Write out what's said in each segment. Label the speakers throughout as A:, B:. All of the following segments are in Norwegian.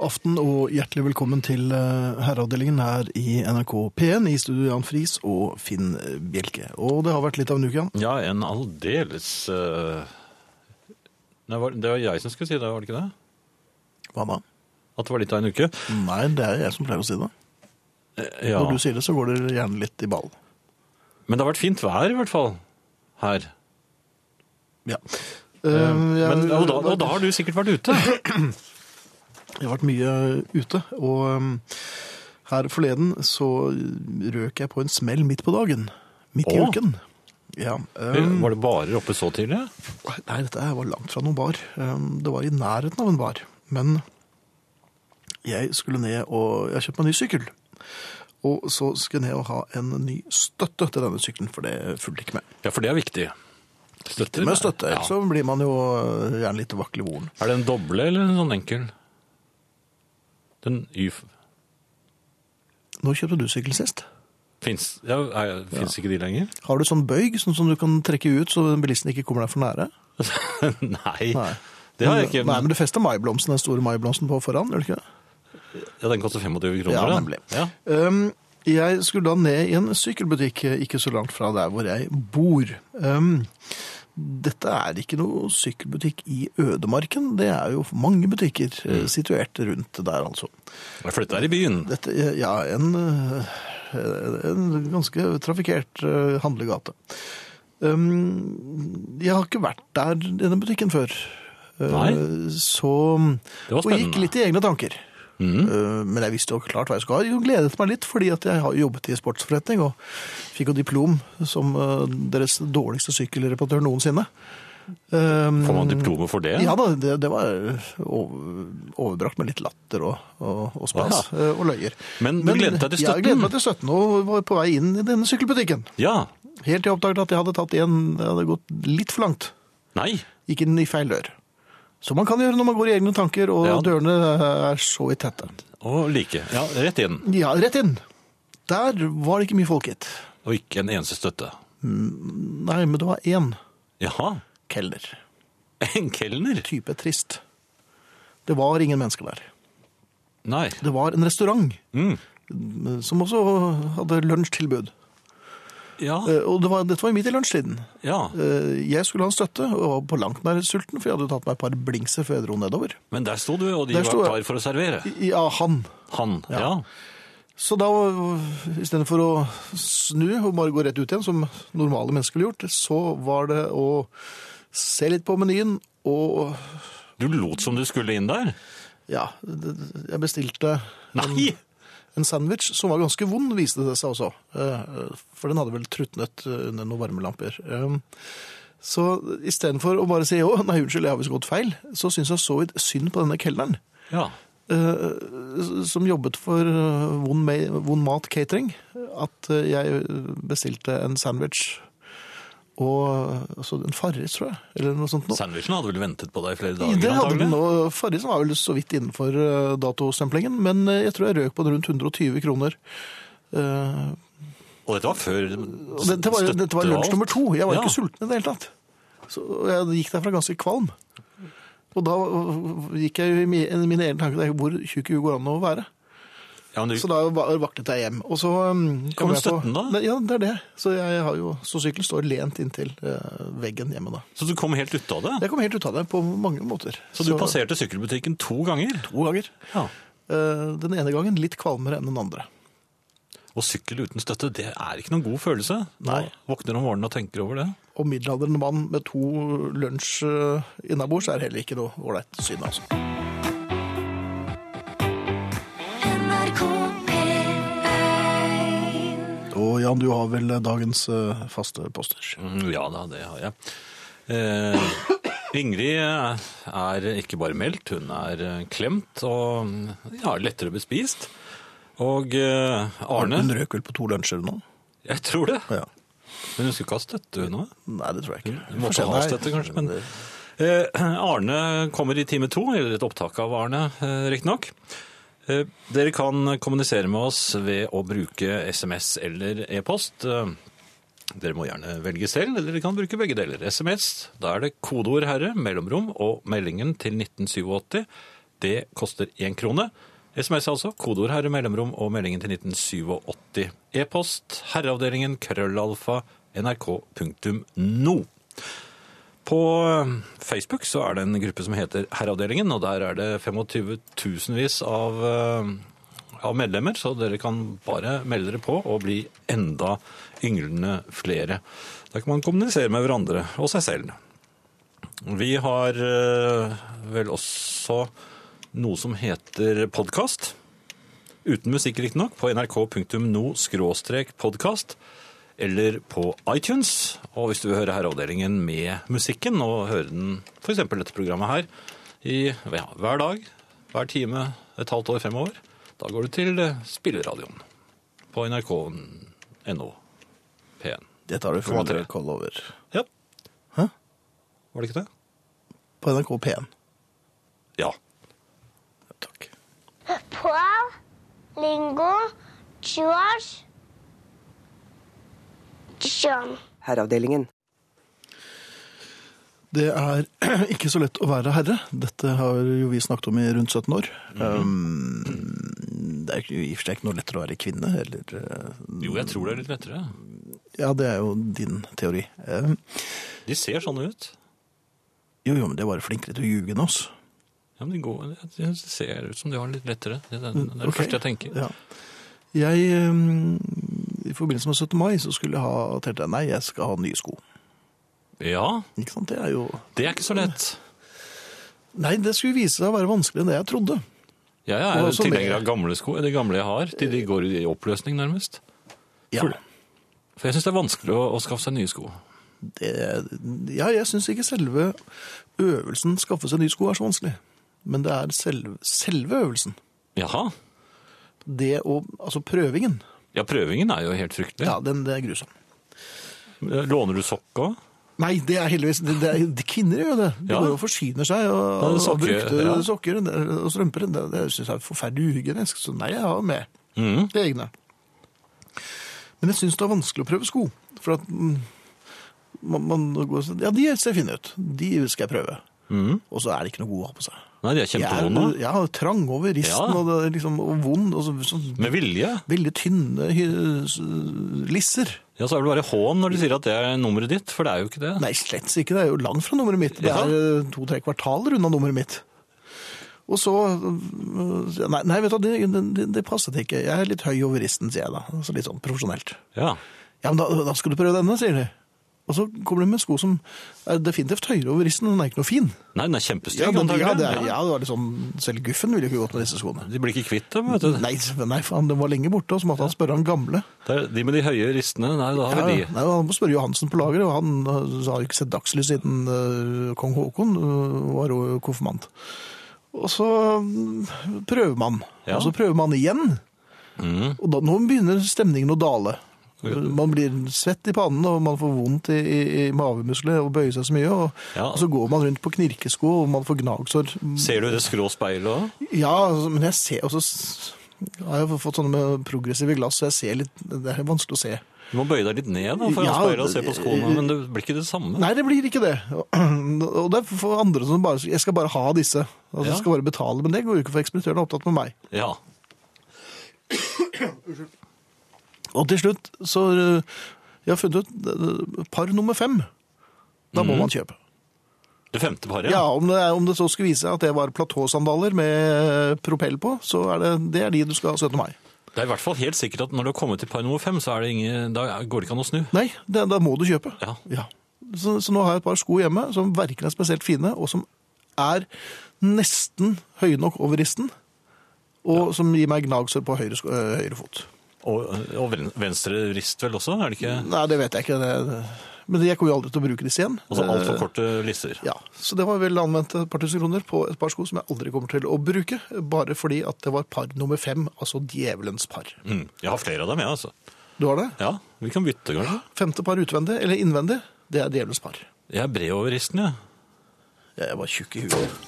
A: aften og hjertelig velkommen til eh, herreavdelingen her i NRK P1 i studio Jan Friis og Finn Bjelke. Og det har vært litt av en uke, Jan.
B: Ja, en aldeles eh, Nei, var- det var jeg som skulle si det, var det ikke det?
A: Hva da?
B: At det var litt av en uke?
A: Nei, det er jeg som pleier å si det.
B: Eh, Ja.
A: Når du sier det, så går det gjerne litt i ball.
B: Men det har vært fint vær, i hvert fall. Her.
A: Ja. Eh,
B: Eh,
A: jeg- Eh,
B: Men, og, da, og da har du sikkert vært ute.
A: Jeg har vært mye ute, og um, her forleden så røk jeg på en smell midt på dagen. Midt i
B: Å.
A: uken. Ja, um,
B: Eh, Var det barer oppe så tidlig?
A: nei, dette her var langt fra noen bar. Um, det var i nærheten av en bar. Men jeg skulle ned og Jeg kjøpte meg en ny sykkel. Og så skulle jeg ned og ha en ny støtte til denne sykkelen, for det fulgte ikke med.
B: Ja, for det er viktig. Støtter?
A: Med støtte,
B: Ja.
A: så blir man jo eh, gjerne litt vaklevoren.
B: Er det en doble eller en sånn enkel? Den Y...
A: Nå kjøpte du sykkel sist.
B: Fins ja, er- finnes ikke de lenger?
A: Har du sånn bøyg, sånn som du kan trekke ut så bilisten ikke kommer deg for nære?
B: Nei.
A: Nei.
B: Det har jeg ikke.
A: Nei, men du fester maiblomsten, den store maiblomsten på foran, gjør du ikke det?
B: Ja, den koster 25 kroner.
A: Ja,
B: den.
A: nemlig.
B: Ja.
A: Um, jeg skulle da ned i en sykkelbutikk, eh, ikke så langt fra der hvor jeg bor. Um, dette er ikke noe sykkelbutikk i ødemarken, det er jo mange butikker eh,
B: Mm.
A: situert rundt der altså.
B: For dette er i byen.
A: Dette, eh, ja, en, eh, en ganske trafikert eh, handlegate. Um, jeg har ikke vært der i denne butikken før. Eh,
B: Nei.
A: Så
B: Det
A: Og gikk
B: var spennende. Mm.
A: litt i egne tanker. Eh, Men jeg visste jo klart hva jeg skulle ha. Jeg gledet meg litt, fordi at jeg har jobbet i sportsforretning og fikk jo diplom som eh, deres dårligste sykkelreparatør noensinne. Eh,
B: Får man diplomet for det?
A: Mm. Ja da, det, det var over- overbrakt med litt latter og, og, og spas eh, og løyer.
B: Men du gledet deg til
A: Jeg gledet
B: støtten?
A: meg til støtten og var på vei inn i denne sykkelbutikken.
B: Ja.
A: Helt til jeg oppdaget at jeg hadde tatt igjen, jeg hadde gått litt for langt.
B: Nei.
A: Gikk inn i feil dør. Som man kan gjøre når man går i egne tanker, og
B: Ja.
A: dørene er så vidt tette.
B: Og like. Ja, rett inn.
A: Ja, rett inn. Der var det ikke mye folk hit.
B: Og ikke en eneste støtte.
A: Nei, men det var én
B: Jaha.
A: kelner.
B: En kelner?
A: Type trist. Det var ingen mennesker der.
B: Nei.
A: Det var en restaurant eh,
B: Mm.
A: som også hadde lunsjtilbud.
B: Ja.
A: Eh, Og det var, dette var jo midt i lunsjtiden.
B: ja.
A: Eh, Jeg skulle ha en støtte, og var på langt nær sulten, for jeg hadde jo tatt meg et par blingser før jeg dro nedover.
B: Men der sto du, og de
A: Der
B: var
A: sto jeg.
B: klar for å servere.
A: Ja, han.
B: Han. Ja.
A: Så da, istedenfor å snu og bare gå rett ut igjen, som normale mennesker ville gjort, så var det å se litt på menyen og
B: Du lot som du skulle inn der.
A: Ja, det- det- jeg bestilte
B: Nei!
A: en sandwich som var ganske vond, viste det seg også. Eh, For den hadde vel trutnet under noen varmelamper. Eh, Så istedenfor å bare si å, nei, unnskyld, jeg har visst gått feil, så syns jeg så vidt synd på denne kelneren.
B: Ja.
A: eh, Som jobbet for eh, Vond Me- Vond Mat Catering. At eh, jeg bestilte en sandwich og altså, en farris, tror jeg. Eller noe sånt noe.
B: Sandwichen hadde vel ventet på deg i flere
A: Det
B: dager,
A: hadde den,
B: antagelig?
A: og Farrisen var vel så vidt innenfor eh, datostemplingen, men eh, jeg tror jeg røk på den rundt 120 kroner. Eh,
B: Og dette var før
A: og dette var,
B: støtte
A: dette var
B: og
A: lunsj
B: alt.
A: nummer to, jeg var
B: Ja.
A: ikke sulten i det hele tatt. Så jeg gikk derfra ganske kvalm. Og da eh, gikk jeg jo i mi- i mine egne tanker det er jo hvor tjukk i huet går an å være.
B: Ja, men
A: Så
B: du,
A: da va- vaklet jeg hjem. Og så um, kom
B: men
A: jeg på
B: støtten da?
A: Nei, Ja, det er det. Så jeg har jo Så sykkelen står lent inntil eh, veggen hjemme da.
B: så du kom helt ut av det?
A: Jeg kom helt ut av det på mange måter.
B: Så du passerte sykkelbutikken to ganger?
A: to ganger.
B: Ja.
A: Eh, Den ene gangen litt kvalmere enn den andre.
B: Og sykkel uten støtte, det er ikke noen god følelse.
A: Nei.
B: Våkner om morgenen og tenker over det.
A: Og middelaldrende mann med to lunsj eh, innabords er heller ikke noe ålreit syn. Altså.
C: NRK P1
A: Og Jan, du har vel dagens eh, faste poster.
B: Mm, Ja da, det har jeg. Eh, Ingrid er ikke bare meldt, hun er eh, klemt og ja, lettere bespist. Og eh, Arne
A: Hun røk vel på to lunsjer nå?
B: Jeg tror det.
A: Ja.
B: Men hun skulle ikke ha støtte, hun òg.
A: Nei, det tror jeg ikke.
B: Måtte
A: Får se,
B: ha
A: nei.
B: støtte, kanskje, men- Eh, Arne kommer i time to, eller et opptak av Arne, eh, riktignok. Eh, dere kan kommunisere med oss ved å bruke SMS eller e-post. Eh, dere må gjerne velge selv, eller dere kan bruke begge deler. SMS, da er det kodeord herre, mellomrom og meldingen til 1987. Det koster én krone. SMS altså, kodeord herre mellomrom og meldingen til 1987. E-post herreavdelingen krøllalfa nrk.no. På eh, Facebook så er det en gruppe som heter Herreavdelingen, og der er det 25 000-vis av, eh, av medlemmer, så dere kan bare melde dere på og bli enda ynglende flere. Der kan man kommunisere med hverandre og seg selv. Vi har eh, vel også noe som heter podkast. Uten musikk, riktignok, på nrk.no-podkast eller på iTunes. Og hvis du vil høre Herreavdelingen med musikken, og høre den f.eks. dette programmet her i, ja, hver dag, hver time, et halvt år fremover, da går du til eh, spilleradioen på nrk.no P1.
A: Det tar du for
B: Kommer til
A: andre
B: det.
A: koll over.
B: Ja.
A: Hæ?
B: Var det ikke det?
A: På NRK P1.
B: Ja.
A: Takk.
D: Paul, Lingo, George, John.
E: Herreavdelingen.
A: Det er ikke så lett å være herre. Dette har jo vi snakket om i rundt 17 år.
B: Mhm.
A: um, det er jo i og for seg ikke noe lettere å være kvinne, eller eh,
B: Jo, jeg tror det er litt lettere.
A: Ja, det er jo din teori. Eh,
B: De ser sånn ut.
A: jo, jo, men det er bare flinkere til å ljuge enn oss.
B: Ja, men de går, det ser ut som de har det litt lettere. Det er det, det, er det
A: Ok.
B: første jeg tenker.
A: Ja. Jeg, um, I forbindelse med 17. mai så skulle jeg ha telt deg. Nei, jeg skal ha nye sko.
B: Ja,
A: Ikke sant? Det er jo
B: det er ikke så lett.
A: Nei, det skulle vise seg å være vanskeligere enn det jeg trodde.
B: Jeg er
A: Og også
B: tilhenger
A: med-
B: av gamle sko, de gamle jeg har. De, de går i oppløsning nærmest.
A: Ja,
B: For jeg syns det er vanskelig å, å skaffe seg nye sko.
A: det, ja jeg syns ikke selve øvelsen skaffe seg nye sko er så vanskelig. Men det er selve, selve øvelsen.
B: Jaha.
A: Det å Altså prøvingen.
B: Ja, prøvingen er jo helt fryktelig.
A: Ja, den, det er grusom.
B: Låner du sokk òg?
A: Nei, det er heldigvis det, det er, de Kvinner gjør jo det. De
B: Ja.
A: går og forsyner seg og,
B: Ja, det
A: og,
B: er sokker,
A: brukte
B: ja.
A: sokker og strømper. Det, det syns jeg er forferdelig uhygienisk, så nei, jeg har med
B: Mm.
A: det egne. Men jeg syns det er vanskelig å prøve sko. For at mm, man, man går og sier, Ja, de ser fine ut. De skal jeg prøve.
B: Mm.
A: Og så er de ikke noe gode å ha på seg.
B: Nei, de er
A: Jeg er-
B: kjempevonde.
A: Ja, trang over risten
B: Ja.
A: og, det er liksom, og vond. Og så, sånn
B: Med vilje.
A: veldig tynne hy- s- lisser.
B: Ja, så er det bare hån når de sier at det er nummeret ditt, for det er jo ikke det.
A: Nei, slett ikke. Det er jo langt fra nummeret mitt. Det
B: Ja.
A: er eh, to-tre kvartaler unna nummeret mitt. Og så øh, Nei, nei vet du, hva, det, det, det passet ikke. Jeg er litt høy over risten, sier jeg da. Altså litt sånn profesjonelt.
B: Ja.
A: Ja, men da, da skal du prøve denne, sier de. Og så kommer de med sko som er definitivt høyere over risten. Den er ikke noe fin.
B: Nei, den er kjempestygg.
A: Ja, den, ja,
B: antagelig.
A: det, er, ja, det var litt sånn, Selv Guffen ville ikke gått med disse skoene.
B: De blir ikke kvitt dem, vet du.
A: Nei, nei faen, den var lenge borte, og så måtte han spørre han gamle.
B: Det er de med de høye ristene, nei, da har
A: Ja,
B: vi
A: nei,
B: de.
A: han må spørre Johansen på lageret, og han øh, har jo ikke sett dagslys siden øh, kong Haakon øh, var jo konfirmant. Og så øh, prøver man,
B: Ja.
A: og så prøver man igjen.
B: Mm.
A: Og da, nå begynner stemningen å dale. Man blir svett i pannen, og man får vondt i, i, i mavemuskler og bøyer seg så mye. Og,
B: Ja.
A: og så går man rundt på knirkesko, og man får gnagsår.
B: Ser du i det skrå speilet òg?
A: Ja, altså, men jeg ser også s- har jeg fått sånne med progressive glass, så jeg ser litt Det er vanskelig å se.
B: Du må bøye deg litt ned da, foran
A: Ja,
B: speilet og se på skoene,
A: eh,
B: men det blir ikke det samme.
A: Nei, det blir ikke det. Og det er for andre som bare Jeg skal bare ha disse. Altså,
B: Ja.
A: Jeg skal bare betale, men det går jo ikke for ekspeditøren er opptatt med meg.
B: Ja.
A: Og til slutt så øh, Jeg har funnet ut øh, par nummer fem. Da må man kjøpe.
B: Det femte paret?
A: Ja, om det, er, om det så skulle vise seg at det var platåsandaler med øh, propell på, så er det, det er de du skal ha 17. mai.
B: Det er i hvert fall helt sikkert at når du har kommet til par nummer fem, så er det ingen, da går det ikke an å snu.
A: Nei, det, da må du kjøpe.
B: Ja.
A: Så, så nå har jeg et par sko hjemme som verken er spesielt fine, og som er nesten høye nok over risten, og som gir meg gnagsår på høyre, sko, øh, høyre fot.
B: Og, og ven- venstre rist vel også, er det ikke?
A: Nei, det vet jeg ikke. Det, men jeg kommer jo aldri til å bruke disse igjen.
B: Altså altfor
A: Eh,
B: korte lister.
A: Ja, Så det var vel anvendt et par tusen kroner på et par sko som jeg aldri kommer til å bruke, bare fordi at det var par nummer fem, altså djevelens par.
B: Mm. Jeg har flere av dem, jeg, altså.
A: Du har det?
B: Ja, vi kan bytte, kanskje.
A: Femte par utvendig, eller innvendig, det er djevelens par.
B: Jeg er bred over risten, jeg.
A: Jeg var tjukk i huet.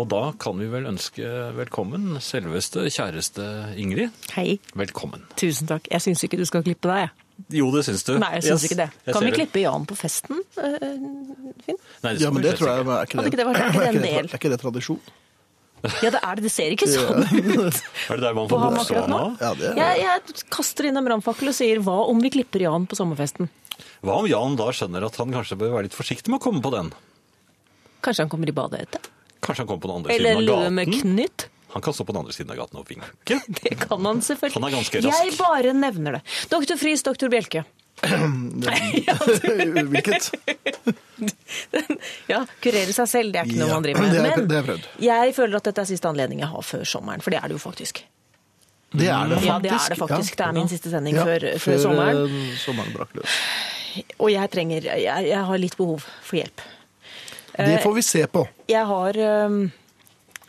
B: Og da kan vi vel ønske velkommen selveste, kjæreste Ingrid.
F: Hei.
B: Velkommen.
F: Tusen takk. Jeg syns ikke du skal klippe deg, jeg.
B: Jo, det syns du.
E: Nei, jeg syns
B: Yes,
E: ikke det.
B: jeg
E: Kan
B: ser
E: vi klippe Jan på festen, eh, Finn?
B: Nei,
A: Ja, men det tror jeg er ikke
E: Hadde
A: det,
E: ikke det vært- er ikke
A: er, ikke
E: det en
A: det,
E: del?
A: er ikke det tradisjon?
E: Ja, det er det. Det ser ikke sånn ut.
B: Er det der man
E: På
B: får
E: ham
B: bokstå
E: akkurat
B: nå?
E: nå?
A: Ja, det er
E: Jeg, jeg kaster inn en brannfakkel og sier hva om vi klipper Jan på sommerfesten?
B: Hva om Jan da skjønner at han kanskje bør være litt forsiktig med å komme på den?
E: Kanskje han kommer i badet etter?
B: Kanskje han kommer på den andre
E: Eller
B: siden av
E: lue med
B: gaten?
E: knytt?
B: Han kan stå på den andre siden av gaten og vinke.
E: Det kan han selvfølgelig.
B: Han er ganske rask.
E: Jeg bare nevner det. Doktor Friis, doktor Bjelke.
A: Hvilket?
E: Ja, kurere seg selv, det er ikke noe
A: Ja,
E: man driver med.
A: det er-
E: Men
A: det er prøvd.
E: jeg føler at dette er siste anledning jeg har før sommeren, for det er det jo faktisk.
A: Det er det faktisk.
E: Ja, det er det faktisk. Det er min siste sending
A: Ja,
E: før, før sommeren.
A: eh, sommeren brakk løs.
E: Og jeg trenger jeg, jeg har litt behov for hjelp. Eh,
A: Det får vi se på.
E: Jeg har øhm,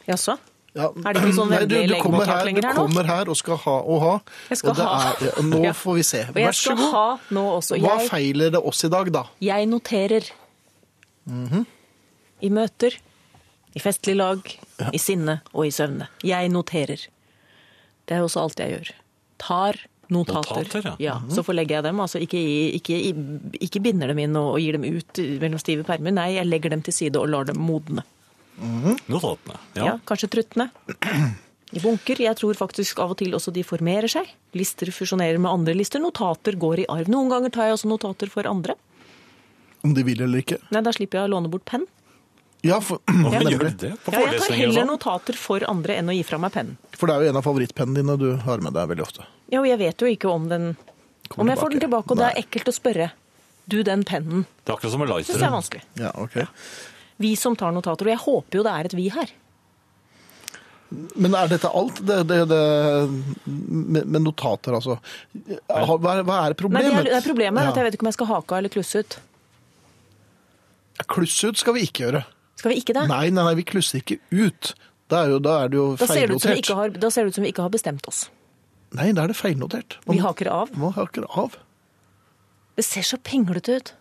E: Jaså?
A: Ja.
E: Er det ikke sånn
A: Nei, du- du
E: vennlig legemottak
A: kommer her-
E: lenger her nå?
A: Du kommer her og skal ha og ha.
E: Jeg skal
A: og det
E: ha.
A: Er, ja, nå
E: Ja.
A: får vi se.
E: Og jeg
A: Vær så
E: skal
A: god.
E: ha nå også.
A: Hva
E: Jeg,
A: feiler det oss i dag, da?
E: jeg noterer.
A: Mhm.
E: I møter, i festlig lag, i sinne og i søvne. Jeg noterer. Det er også alt jeg gjør. Tar notater.
B: Notater, ja.
A: Mhm.
E: Så forlegger jeg dem. Altså ikke, i- ikke, i- ikke binder dem inn og, og gir dem ut mellom stive permer. Nei, jeg legger dem til side og lar dem modne.
B: Notatene. Ja.
E: Ja, kanskje truttene. I bunker. Jeg tror faktisk av og til også de formerer seg. Lister fusjonerer med andre lister. Notater går i arv. Noen ganger tar jeg også notater for andre.
A: Om de vil eller ikke?
E: Nei, da slipper jeg å låne bort penn.
A: Ja, for,
B: Hvorfor
A: nemlig.
B: gjør du det? På
E: Ja, jeg tar
B: forelesninger og
E: heller
B: sånn?
E: notater for andre enn å gi fra meg pennen.
A: for det er jo en av favorittpennene dine du har med deg veldig ofte.
E: Ja, og jeg vet jo ikke om den
A: Kommer
E: Om jeg får den
A: tilbake.
E: tilbake, og det er
A: Nei.
E: ekkelt å spørre. Du, den pennen.
B: Det er akkurat som med
E: Syns jeg er
B: lighteren.
E: vanskelig.
A: Ja, ok.
E: Vi som tar notater. Og jeg håper jo det er et vi her.
A: Men er dette alt? Det, det, det, med, med notater, altså. Har- Hva er, hva er
E: Nei,
A: problemet?
E: det er, det er problemet er at jeg
A: Ja.
E: vet ikke om jeg skal hake av eller klusse ut.
A: Klusse ut skal vi ikke gjøre.
E: Skal vi ikke det?
A: Nei, nei, nei, vi klusser ikke ut. Da er, jo, da er det jo
E: Da ser det ut som
A: feilnotert.
E: vi ikke har, da ser det ut som vi ikke har bestemt oss.
A: Nei, da er det feilnotert.
E: Vi haker av.
A: Man haker av.
E: Det ser så pinglete ut.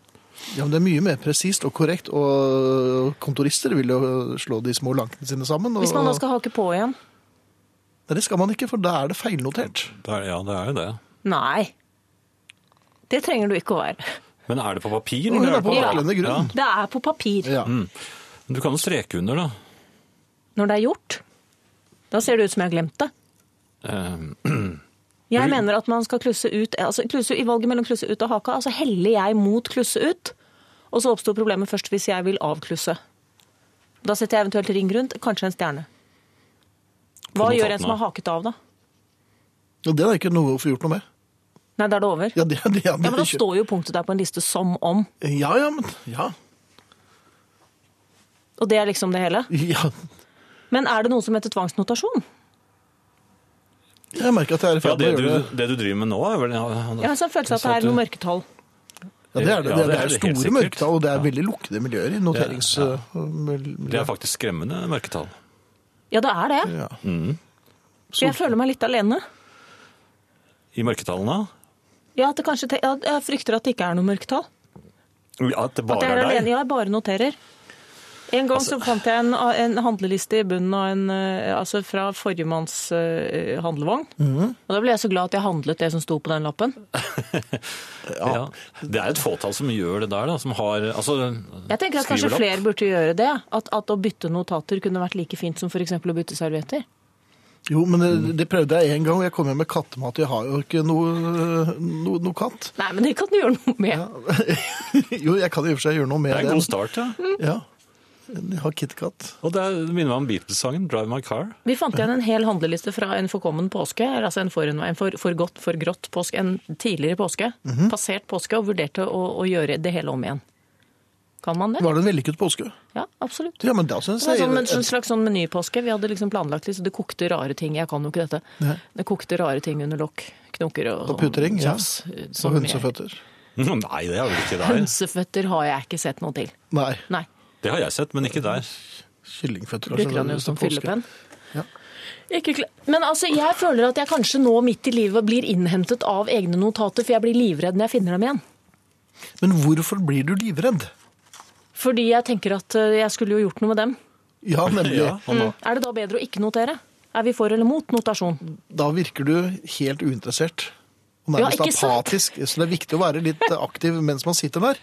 A: Ja, men Det er mye mer presist og korrekt, og kontorister vil jo slå de små lankene sine sammen. Og,
E: Hvis man da skal hake på igjen?
A: Nei, det skal man ikke, for da er det feilnotert.
B: Det er- Ja, det er jo det.
E: Nei. Det trenger du ikke å være.
B: Men er det på papir?
A: Og hun
B: eller
A: er på
B: blad?
A: vaklende grunn.
E: Det er på papir
A: Ja.
B: Ja. Men Du kan jo streke under, da.
E: når det er gjort. Da ser det ut som jeg har glemt det.
B: Eh,
E: Jeg
B: Men-
E: mener at man skal klusse ut altså klusse, I valget mellom klusse ut og haka, altså heller jeg mot klusse ut. Og så oppstår problemet først hvis jeg vil avklusse. Da setter jeg eventuelt ring rundt, kanskje en stjerne. Hva
B: På
E: gjør
B: notatene.
E: en som har haket av, da?
A: Og det er ikke noe å få gjort noe med.
E: Nei, da er det over.
A: Ja, det, det, er det
E: Ja, men da
A: ikke.
E: står jo punktet der på en liste som om.
A: Ja, ja, men ja.
E: Og det er liksom det hele.
A: ja.
E: Men er det noe som heter tvangsnotasjon?
A: Jeg merker at det er i
B: ja,
A: ferd
B: det
A: med å
B: du,
A: gjøre det.
B: det du driver med nå, er vel ja,
E: Jeg har en sånn følelse av at det er noe mørketall.
A: Ja, det er det.
B: Ja,
A: det,
B: det
A: det
B: er
A: er
B: det helt
A: store
B: sikkert.
A: mørketall, og det er veldig lukkede miljøer i
B: Ja, Det er
A: noteringsmiljøet.
B: faktisk skremmende mørketall.
E: Ja, det er det.
A: Ja.
B: Mm.
E: For jeg føler meg litt alene.
B: I mørketallene?
E: Ja, at det kanskje, te- ja, jeg frykter at det ikke er noe mørketall.
B: Ja, at det
E: At
B: bare
E: jeg er
B: er
E: alene.
B: deg? Altså-
E: Ja, jeg bare noterer. En gang så fant jeg en, en handleliste i bunnen av en, eh, altså fra forrige manns eh, handlevogn.
B: Mhm.
E: Og da ble jeg så glad at jeg handlet det som sto på den lappen.
B: Ja. Det er et fåtall som gjør det der, da. Som har Altså,
E: Jeg tenker at
B: skriver
E: kanskje
B: det
E: flere burde gjøre det. At, at å bytte notater kunne vært like fint som f.eks. å bytte servietter.
A: Jo, men
B: Mm.
A: det, det prøvde jeg en gang, og jeg kom hjem med kattemat. Jeg har jo ikke noe, noe, noe katt.
E: Nei, men det kan du gjøre noe med.
A: Jo, jeg kan i og for seg gjøre noe med
B: det er
A: det.
B: en god start, ja.
A: Ja. Jeg har KitKat.
B: Og det er- det minner meg om Beatles-sangen 'Drive My Car'.
E: Vi fant igjen en hel handleliste fra en forkommen påske, eller altså en, for, en for, for godt, for grått påske, en tidligere påske,
A: Mhm.
E: passert påske, og vurderte å, å gjøre det hele om igjen. Kan man det?
A: Var det en vellykket påske?
E: Ja, absolutt.
A: Ja, men da synes
E: Det var
A: jeg...
E: sånn, en sånn slags sånn menypåske. Vi hadde liksom planlagt litt, så det kokte rare ting. Jeg kan jo ikke dette. Det kokte rare ting under lokk, knoker og,
A: Og puttering, ja.
E: tjafs, eh,
A: Og
E: som jeg-
A: hønseføtter.
B: Nei, det er vel ikke der.
E: Hønseføtter har jeg ikke sett noe til.
A: Nei,
E: Nei.
B: Det har jeg sett, men ikke der.
A: kyllingføtter.
E: Bruker han jo
A: sånn
E: som
A: påske.
E: fyllepenn.
A: Ja.
E: Ikke kla- Men altså, jeg føler at jeg kanskje nå midt i livet blir innhentet av egne notater, for jeg blir livredd når jeg finner dem igjen.
A: Men hvorfor blir du livredd?
E: Fordi jeg tenker at eh, jeg skulle jo gjort noe med dem.
A: Ja, nemlig.
B: Ja, og nå.
E: Er det da bedre å ikke notere? Er vi for eller mot notasjon?
A: Da virker du helt uinteressert. Og nærmest
E: Ja, ikke sant?
A: apatisk. Så det er viktig å være litt aktiv mens man sitter der.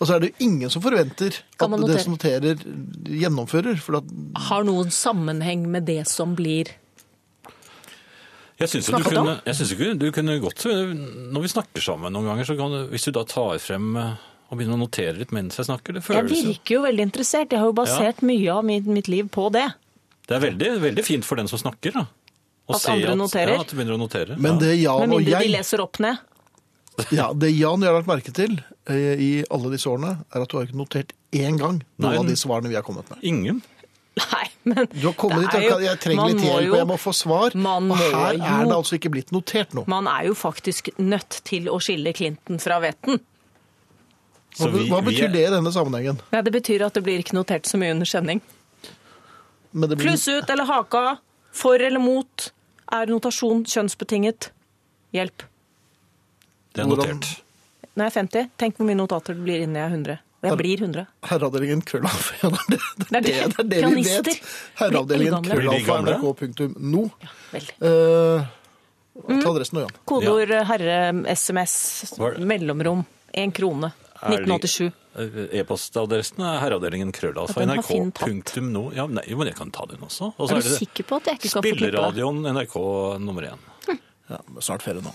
A: Og så er det jo ingen som forventer
E: Kan
A: at
E: man
A: det som noterer, gjennomfører. For at,
E: Har noen sammenheng med det som blir
B: Jeg syns jo du
E: Snakket om?
B: kunne, jeg synes ikke du kunne godt Når vi snakker sammen noen ganger, så kan du, hvis du da tar frem eh, og begynner å notere litt mens jeg snakker, det
E: Jeg
B: føles jo
E: virker jo veldig interessert. Jeg har jo basert mye av mitt, mitt liv på det.
B: Det er veldig, veldig fint for den som snakker, da. Å
E: At
B: se
E: andre noterer?
B: Ja, at du begynner å notere.
A: men
B: ja.
A: det
E: Med
A: Jan og
E: mindre de
A: jeg
E: leser opp ned.
A: ja, det Jan og jeg har lagt merke til eh, i alle disse årene, er at du har ikke notert én gang
B: Nei.
A: noen av de svarene vi har kommet med.
B: Ingen.
E: Nei, men
A: Du har kommet
E: det
A: dit,
E: er
A: jeg,
E: jo-
A: jeg trenger
E: man
A: litt
E: må
A: hjelp,
E: jo-
A: og jeg må få svar.
E: man
A: Og
E: må
A: her er det
E: jo-
A: altså ikke blitt notert noe.
E: Man er jo faktisk nødt til å skille Clinton fra hveten.
A: Hva,
B: Så vi-
A: hva
B: vi er-
A: betyr det i denne sammenhengen?
E: Nei, Det betyr at det blir ikke notert så mye under sending.
B: Mm.
A: Men det blir-
E: Pluss ut eller haka, for eller mot. Er notasjon kjønnsbetinget? Hjelp.
B: Det er
A: Hvordan-
B: notert.
E: Når jeg er 50, tenk hvor mye notater det blir innen jeg er 100. Og jeg blir 100.
A: Herreavdelingen krøllalfa. Ja, det, er det, det, er det, det er det vi
E: Pianister.
A: vet. Herreavdelingen
E: Blir de
A: krøllalfa
B: gamle?
A: nrk.no.
E: Veldig.
A: Eh, ta adressen nå, Jan.
E: Kodeord eh, herre-SMS,
B: Var det-
E: mellomrom, én krone.
B: Er det-
E: 1987.
B: Eh, E-postadressen er herreavdelingen krøllalfa
E: Ja, den har Finn tatt.
B: nrk.no. Ja, nei, jo, men jeg kan ta den også. Og så
E: Er
B: det
E: du sikker på at jeg ikke skal få klippe det?
B: Spilleradioen NRK nummer én.
A: Ja, snart ferie nå.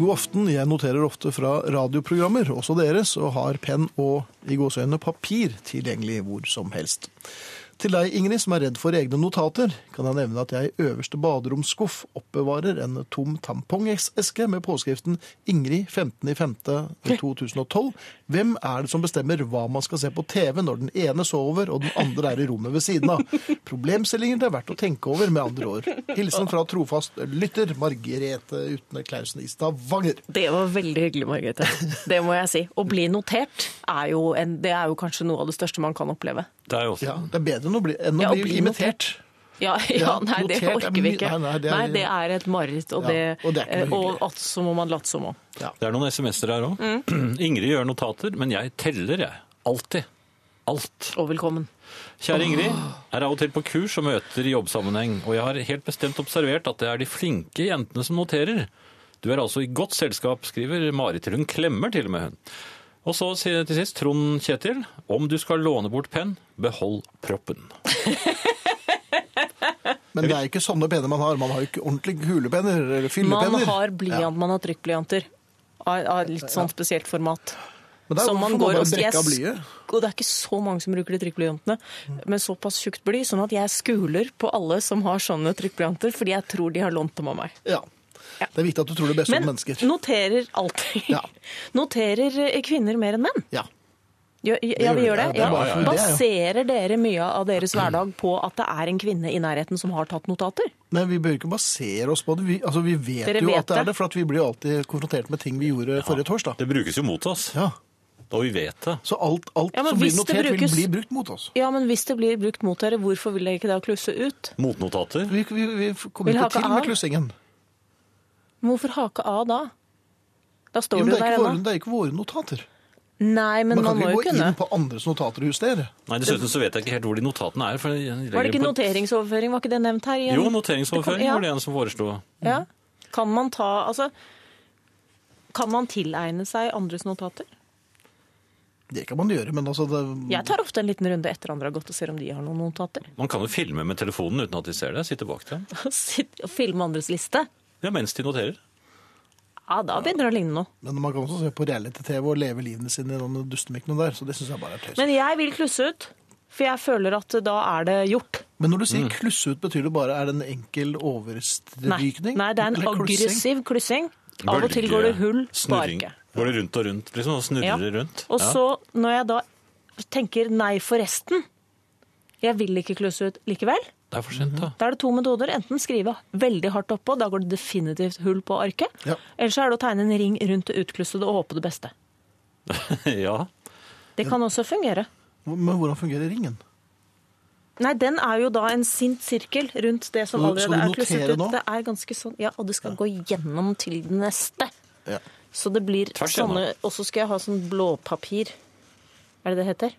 A: God aften. Jeg noterer ofte fra radioprogrammer, også deres, og har penn og i gåseøynene papir tilgjengelig hvor som helst. Til deg, Ingrid, som er redd for egne notater, kan jeg nevne at jeg i øverste baderomsskuff oppbevarer en tom tampongeske med påskriften 'Ingrid eh, 15.05.2012'. Hvem er det som bestemmer hva man skal se på TV når den ene sover og den andre er i rommet ved siden av? Problemstillinger det er verdt å tenke over, med andre ord. Hilsen fra trofast lytter Margrethe Utne Klausen i Stavanger.
E: Det var veldig hyggelig, Margrethe. Det må jeg si. Å bli notert er jo, en, det er jo kanskje noe av det største man kan oppleve.
B: Det er jo også
A: Ja, det er bedre enn å bli, enn å
E: Ja, å
A: bli,
E: bli
A: imitert.
E: Ja, ja
A: Ja,
E: nei, det
A: notert er
E: orker vi
A: mye-
E: ikke.
A: nei, nei, det er-
E: Nei, det er et mareritt,
A: Ja,
E: og, det- eh,
A: og det er ikke noe hyggelig.
E: og at så må man late som om.
B: Det er noen SMS-er her òg.
E: Mm.
B: Ingrid gjør notater, men jeg teller, jeg. Alltid. Alt.
E: Og velkommen.
B: Kjære Ingrid, er av og til på kurs og møter i jobbsammenheng, og jeg har helt bestemt observert at det er de flinke jentene som noterer. Du er altså i godt selskap, skriver Marit til hun klemmer til og med hun. Og så sier jeg til sist Trond Kjetil, om du skal låne bort penn, behold proppen.
A: Men det er ikke sånne penner man har. Man har jo ikke ordentlige kulepenner eller
E: Man
A: fyllepenner.
E: har blyant, man har trykkblyanter av, av litt sånn spesielt format.
A: Men der
E: Som
A: får
E: man
A: man
E: går
A: bare
E: og-
A: brekke
E: jeg
A: av blyet.
E: sk- Og det er ikke så mange som bruker de trykkblyantene, men såpass tjukt bly, sånn at jeg skuler på alle som har sånne trykkblyanter, fordi jeg tror de har lånt dem av meg.
A: Ja. Det er viktig at du tror det beste
E: Men
A: om mennesker.
E: noterer alltid.
A: Ja.
E: Noterer eh, kvinner mer enn menn?
A: Ja.
E: Ja, ja, vi
A: gjør
E: gjør det.
A: det.
E: Ja.
A: Det er bare for det, ja.
E: Baserer dere mye av deres hverdag på at det er en kvinne i nærheten som har tatt notater?
A: Nei, vi bør ikke basere oss på det. Vi, altså, vi vet
E: Dere
A: jo
E: vet
A: at det er
E: det.
A: det, for at vi blir jo alltid konfrontert med ting vi gjorde forrige torsdag.
B: Det brukes jo mot oss,
A: Ja.
B: og vi vet det.
A: Så alt, alt
E: Ja, men
A: som blir
E: hvis det
A: notert,
E: brukes-
A: vil bli brukt mot oss.
E: Ja, men hvis det blir brukt mot dere, hvorfor vil dere ikke da klusse ut?
B: Motnotater.
A: Vi, vi, vi kommer
E: Vil
A: ikke til
E: hake
A: med
E: av?
A: klussingen.
E: Men Hvorfor hake av da? Da står
A: Jo, men det,
E: du
A: er
E: der
A: ikke våre,
E: ennå.
A: det er ikke våre notater.
E: Nei, men
A: Man
E: man
A: kan
E: må
A: ikke gå
E: jo kunne.
A: inn på andres notater og justere.
B: Nei, dessuten så vet jeg ikke helt hvor de notatene er. For jeg legger
E: Var det ikke
B: på-
E: noteringsoverføring? Var ikke det nevnt her? i en-
B: Jo, noteringsoverføring
E: Det kan-
B: var det en som foreslo.
E: Ja. ja. Kan man ta Altså, kan man tilegne seg andres notater?
A: Det kan man gjøre, men altså det,
E: Jeg tar ofte en liten runde etter andre har gått og ser om de har noen notater.
B: Man kan jo filme med telefonen uten at de ser det. Sitte bak dem.
E: Sitte og filme andres liste.
B: Ja, mens de noterer.
E: Ja, da begynner det å ligne noe.
A: men man kan også se på reality-TV og leve livene sine i noen dustemikkene der, så det syns jeg bare er tøys. Men,
E: Men jeg vil klusse ut, for jeg føler at da er det gjort.
A: når du sier klusse ut, betyr det bare er det en enkel
E: Nei,
A: overstrykning?
E: nei det er en
A: Eller klussing?
E: aggressiv klussing. Av og til
B: Bølge,
E: går det hull
B: snurring.
E: sparke.
B: Går det rundt og rundt, liksom, og snurrer
E: Ja.
B: rundt.
E: Og så når jeg da tenker nei forresten, jeg vil ikke klusse ut likevel,
B: ja. Det er for sent, da.
E: da er det to metoder. Enten skrive veldig hardt oppå, da går det definitivt hull på arket.
A: Ja.
E: Eller så er det å tegne en ring rundt det utklussede og håpe det beste. Mhm.
B: ja.
E: Det kan også fungere.
A: Men hvordan fungerer ringen?
E: Nei, den er jo da en sint sirkel rundt det som
A: Skal du-
E: allerede
A: skal du
E: er klusset
A: notere
E: ut.
A: nå?
E: Det er ganske sånn, ja, og det skal gå gjennom til den neste.
A: Ja.
E: Så det blir
B: Tvers gjennom.
E: sånne, og så skal jeg ha sånn blåpapir. Er det det heter?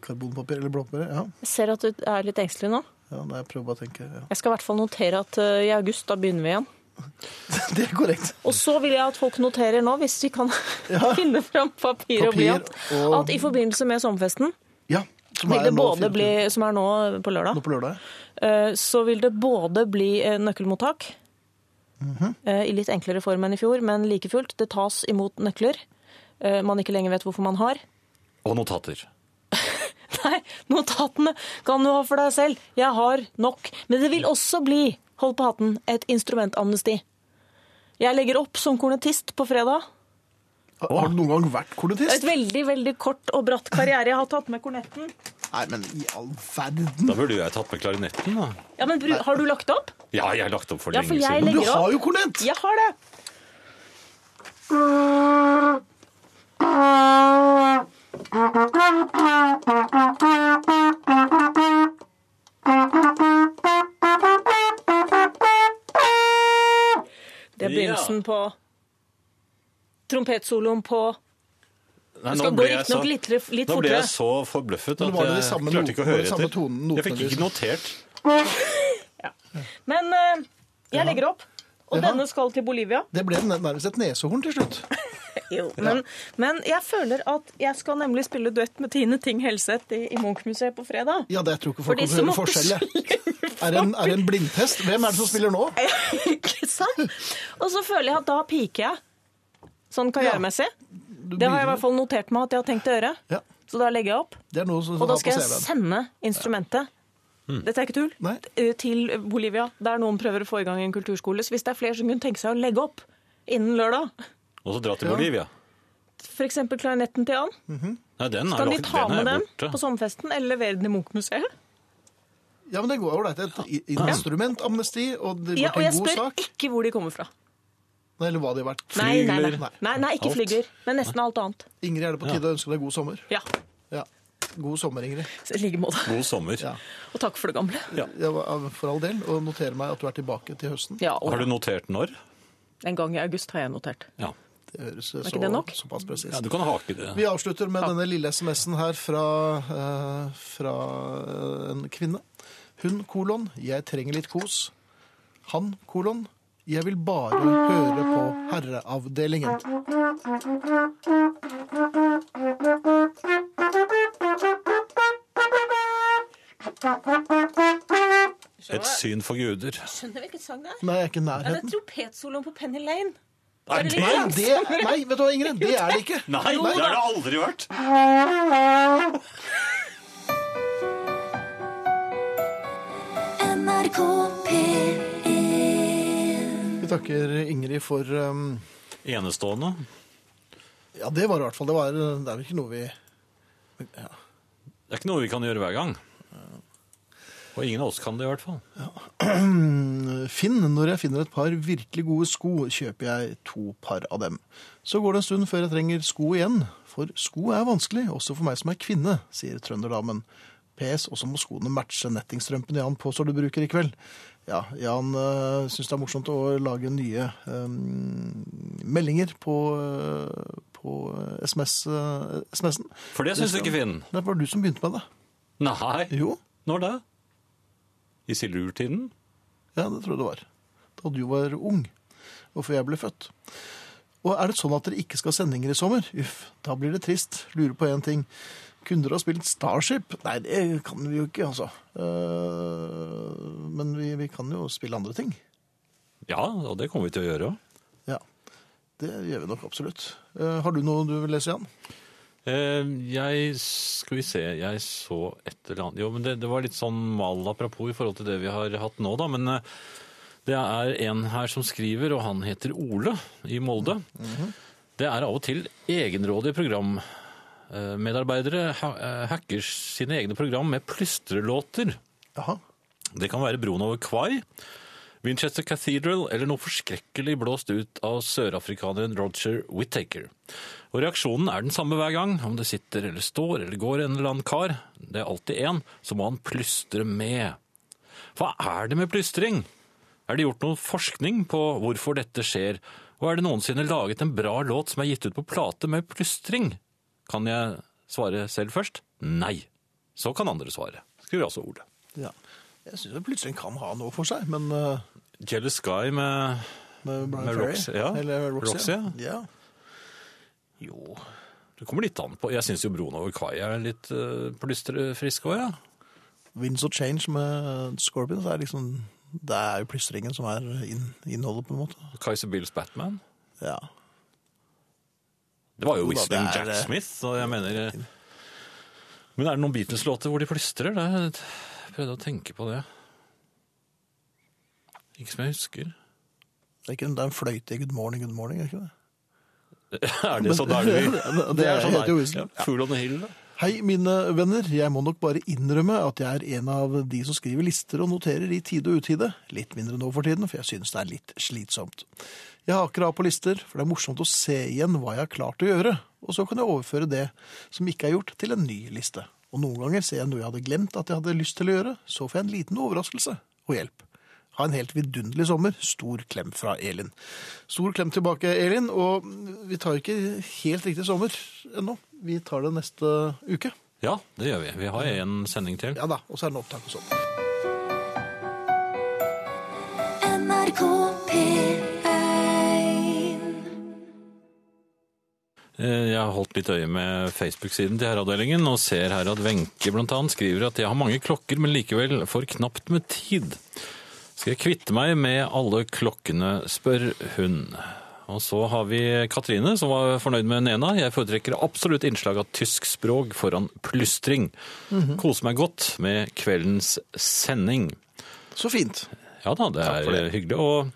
A: Karbonpapir eller blåpapir? Ja.
E: Jeg ser at du er litt engstelig nå.
A: Ja, nei, jeg prøver bare å tenke. Ja.
E: Jeg skal i hvert fall notere at eh, i august, da begynner vi igjen.
A: Det er korrekt.
E: Og så vil jeg at folk noterer nå, hvis vi kan finne fram papir, og
A: Papir
E: blyant,
A: og-
E: at i forbindelse med sommerfesten,
A: Ja. Som
E: vil det
A: nå
E: både
A: 24
E: bli, som er nå på lørdag,
A: Nå på lørdag.
E: eh, så vil det både bli eh, nøkkelmottak,
A: Mhm.
E: eh, i litt enklere form enn i fjor, men like fullt, det tas imot nøkler eh, man ikke lenger vet hvorfor man har.
B: Og notater.
E: Nei, notatene kan du ha for deg selv. Jeg har nok. Men det vil også bli, hold på hatten, et instrumentamnesti. Jeg legger opp som kornetist på fredag.
A: Har, har du noen gang vært
E: Et
A: kornetist?
E: veldig, veldig kort og bratt karriere. Jeg har tatt med kornetten.
A: Nei, men i all verden!
B: Da burde jeg tatt med klarinetten, da.
E: Ja, men bru- Har du lagt opp?
B: Ja, jeg har lagt opp for
E: Ja,
B: lenge
E: for jeg
B: siden.
A: Du
E: legger
A: har
E: opp.
A: jo kornett!
E: Jeg har det. Det er begynnelsen på trompetsoloen på
B: Nei,
E: Det
B: nå
E: skal gå
B: ble jeg
E: riktignok
B: så-
E: litt, litt
B: Nå ble
E: fortere.
B: jeg så forbløffet
A: Men
B: at
A: var det de
B: jeg
A: samme
B: klarte ikke å
A: notene- var
B: høre
A: det samme
B: etter.
A: tonen-
B: jeg fikk
A: notene
B: ikke
A: de-
B: notert.
E: Men eh, jeg legger opp. Og
A: Jaha.
E: denne skal til Bolivia.
A: Det ble nær- nærmest et nesehorn til slutt.
E: Jo, men, men jeg føler at jeg skal nemlig spille duett med Tine Ting Helseth i, i Munch-museet på fredag.
A: Ja, det tror jeg ikke
E: For
A: folk
E: de
A: kan
E: som
A: høre
E: måtte
A: forskjellet. Er det en, er det en blindtest? Hvem er det som spiller nå?
E: Ikke sant? Og så føler jeg at da piker jeg. Sånn karrieremessig. Det har jeg i hvert fall notert meg at jeg har tenkt å gjøre.
A: Ja,
E: Så da legger jeg opp.
A: det er noe som
E: Og da
A: har på
E: skal jeg
A: CV-en.
E: sende instrumentet. Dette er ikke tull.
A: Nei.
E: Eh, Til Bolivia, der noen prøver å få i gang en kulturskole. Så hvis det er flere som kunne tenke seg å legge opp innen lørdag,
B: Og så dra til Bolivia.
E: f.eks. klarinetten til Jan,
B: Nei, den er,
E: kan de
B: lagt-
E: ta
B: den er
E: med dem
B: borte.
E: på sommerfesten eller levere den i Munch-museet?
A: Ja, men det går ålreit. Et i- instrumentamnesti, og det går
E: Ja, og
A: til
E: jeg
A: en god
E: spør
A: sak.
E: ikke hvor de kommer fra.
A: Nei, Eller hva det har vært.
E: Nei, nei,
B: Flygler.
E: nei. nei, nei ikke
B: Alt.
E: flygler, men nesten alt annet.
A: Ingrid, er det på tide å ønske deg god sommer?
E: Ja,
A: Ja. God sommer, Ingrid.
E: så i like måte.
B: God sommer.
A: Ja.
E: Og takk for det gamle.
A: Ja, for all del. Og notere meg at du er tilbake til høsten.
E: Ja, og
B: Har du notert når?
E: En gang i august har jeg notert.
B: Ja.
A: Det høres så,
E: ikke det nok?
A: såpass presist.
B: ja, du kan hake det.
A: Vi avslutter med denne lille SMS-en her fra, eh, fra eh, en kvinne. Hun, kolon, jeg trenger litt kos. Han, kolon, jeg vil bare høre på herreavdelingen.
B: Et syn for guder.
E: Skjønner hvilken sang det er?
A: Nei, jeg er ikke i
E: Ja, det er
A: nærheten.
E: trompetsoloen på Penny Lane.
B: Er det?
E: det litt
A: Nei,
B: Nei,
A: det, nei, vet du hva, Ingrid? Det er det ikke.
B: det har det aldri vært.
C: NRK P1
A: Vi takker Ingrid for um,
B: Enestående.
A: Ja, det var det i hvert fall. Det, var, det er vel ikke noe vi
B: Det er ikke noe vi kan gjøre hver gang. Og ingen av oss kan det i hvert fall.
A: eh, Finn, når jeg finner et par virkelig gode sko, kjøper jeg to par av dem. Så går det en stund før jeg trenger sko igjen, for sko er vanskelig, også for meg som er kvinne, sier trønderdamen. PS, også må skoene matche nettingstrømpene Jan påstår du bruker i kveld. Ja, Jan øh, syns det er morsomt å lage nye øhm, meldinger på, øh, på SMS, øh, SMS-en.
B: For det syns ikke Finn.
A: Det var du som begynte med det.
B: Nei.
A: Jo,
B: Når da? I silurtiden?
A: Ja, det tror jeg det var. Da du var ung, og før jeg ble født. Og er det sånn at dere ikke skal ha sendinger i sommer? Uff, da blir det trist. Lurer på én ting. Kunne dere ha spilt Starship? Nei, det kan vi jo ikke, altså. Eh, men vi, vi kan jo spille andre ting.
B: Ja, og det kommer vi til å gjøre òg.
A: Ja. Det gjør vi nok absolutt. Eh, har du noe du vil lese, Jan?
B: Eh, Jeg Skal vi se Jeg så et eller annet Jo, men det, det var litt sånn mal apropos i forhold til det vi har hatt nå, da. Men eh, det er en her som skriver, og han heter Ole i Molde. Det er av og til egenrådige programmedarbeidere ha- eh, hacker sine egne program med plystrelåter.
A: Jaha.
B: Det kan være broen over Kwai, Winchester Cathedral eller noe forskrekkelig blåst ut av sørafrikaneren Roger Whittaker. Og reaksjonen er den samme hver gang, om det sitter eller står eller går en eller annen kar. Det er alltid én, så må han plystre med. Hva er det med plystring? Er det gjort noen forskning på hvorfor dette skjer, og er det noensinne laget en bra låt som er gitt ut på plate med plystring? Kan jeg svare selv først? Nei. Så kan andre svare, skriver altså Ole.
A: Ja. Jeg syns plutselig en kan ha noe for seg, men eh,
B: Jealous Guy med
A: med Brian
B: Med
A: Ferry,
B: Roxy, ja.
A: Eller Roxy,
B: Roxy, ja.
A: ja.
B: Jo, det kommer litt an på. Jeg syns jo broen over kai er litt uh, plystrefisk òg, jeg.
A: Winds of Change med Scorpions er liksom Det er jo plystringen som er inn, innholdet, på en måte.
B: Ja. Kaiser Bills Batman.
A: Ja.
B: Det var jo
A: Jo da,
B: Winston
A: det er,
B: Jack
A: eh,
B: Smith, så jeg mener eh, Men er det noen Beatles-låter hvor de plystrer? Det er- Jeg prøvde å tenke på det. Ikke som jeg husker.
A: Det er, ikke, det er en fløyte i Good Morning, Good Morning, er ikke det?
B: er det så deilig?
A: Det er helt uviselig.
B: Ja. Fool on the Hill, da.
A: Hei, mine venner. Jeg må nok bare innrømme at jeg er en av de som skriver lister og noterer i tide og utide. Litt mindre nå for tiden, for jeg synes det er litt slitsomt. Jeg haker av på lister, for det er morsomt å se igjen hva jeg har klart å gjøre. Og så kan jeg overføre det som ikke er gjort, til en ny liste. Og noen ganger ser jeg noe jeg hadde glemt at jeg hadde lyst til å gjøre. Så får jeg en liten overraskelse og hjelp. Ha en helt vidunderlig sommer. Stor klem fra Elin. Stor klem tilbake, Elin. Og vi tar ikke helt riktig sommer ennå. Vi tar det neste uke.
B: Ja, det gjør vi. Vi har en sending til.
A: Ja da, og så er det en opptak og sånn.
C: NRK P1
B: Eh, Jeg har holdt litt øye med Facebook-siden til herreavdelingen, og ser her at Wenche bl.a. skriver at jeg har mange klokker, men likevel for knapt med tid. Skal jeg kvitte meg med alle klokkene, spør hun. Og så har vi Katrine, som var fornøyd med Nena. Jeg foretrekker absolutt innslag av tysk språk foran plystring. Koser meg godt med kveldens sending.
A: Så fint.
B: Ja da, det er hyggelig. Og,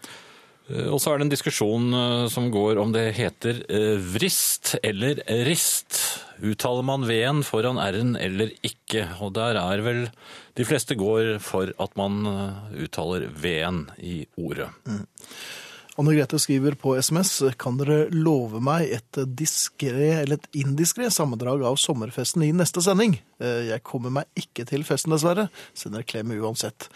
B: eh, og så er det en diskusjon eh, som går om det heter eh, vrist eller rist. Uttaler man V-en foran R-en eller ikke? Og der er vel De fleste går for at man eh, uttaler V-en i ordet.
A: Anne Grete skriver på SMS Kan dere love meg et diskré eller et indiskré sammendrag av sommerfesten i neste sending? Eh, Jeg kommer meg ikke til festen, dessverre. Sender klem uansett.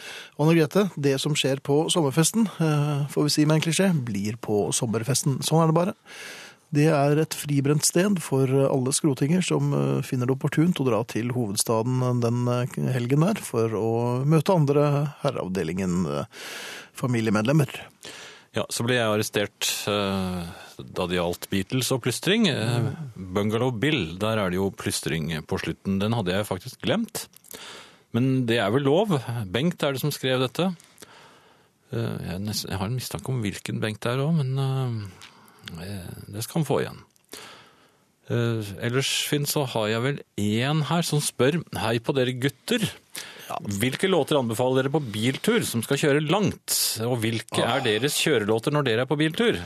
A: Anne Grete, det som skjer på sommerfesten, eh, får vi si med en klisjé, blir på sommerfesten. Sånn er det bare. Det er et fribrent sted for alle skrotinger som eh, finner det opportunt å dra til hovedstaden den eh, helgen der for å møte andre herreavdelingen eh, familiemedlemmer.
B: Ja, Så ble jeg arrestert eh, da det gjaldt Beatles og plystring. Eh, Bungalow Bill, der er det jo plystring på slutten. Den hadde jeg faktisk glemt. Men det er vel lov. Bengt er det som skrev dette. Eh, jeg, er nesten, jeg har en mistanke om hvilken Bengt det er òg, men eh, eh, det skal han få igjen. Eh, ellers, Finn, så har jeg vel én her som spør Hei på dere gutter. Hvilke låter anbefaler dere på biltur som skal kjøre langt? Og hvilke
A: Ah.
B: er deres kjørelåter når dere er på
A: Eh.
B: biltur?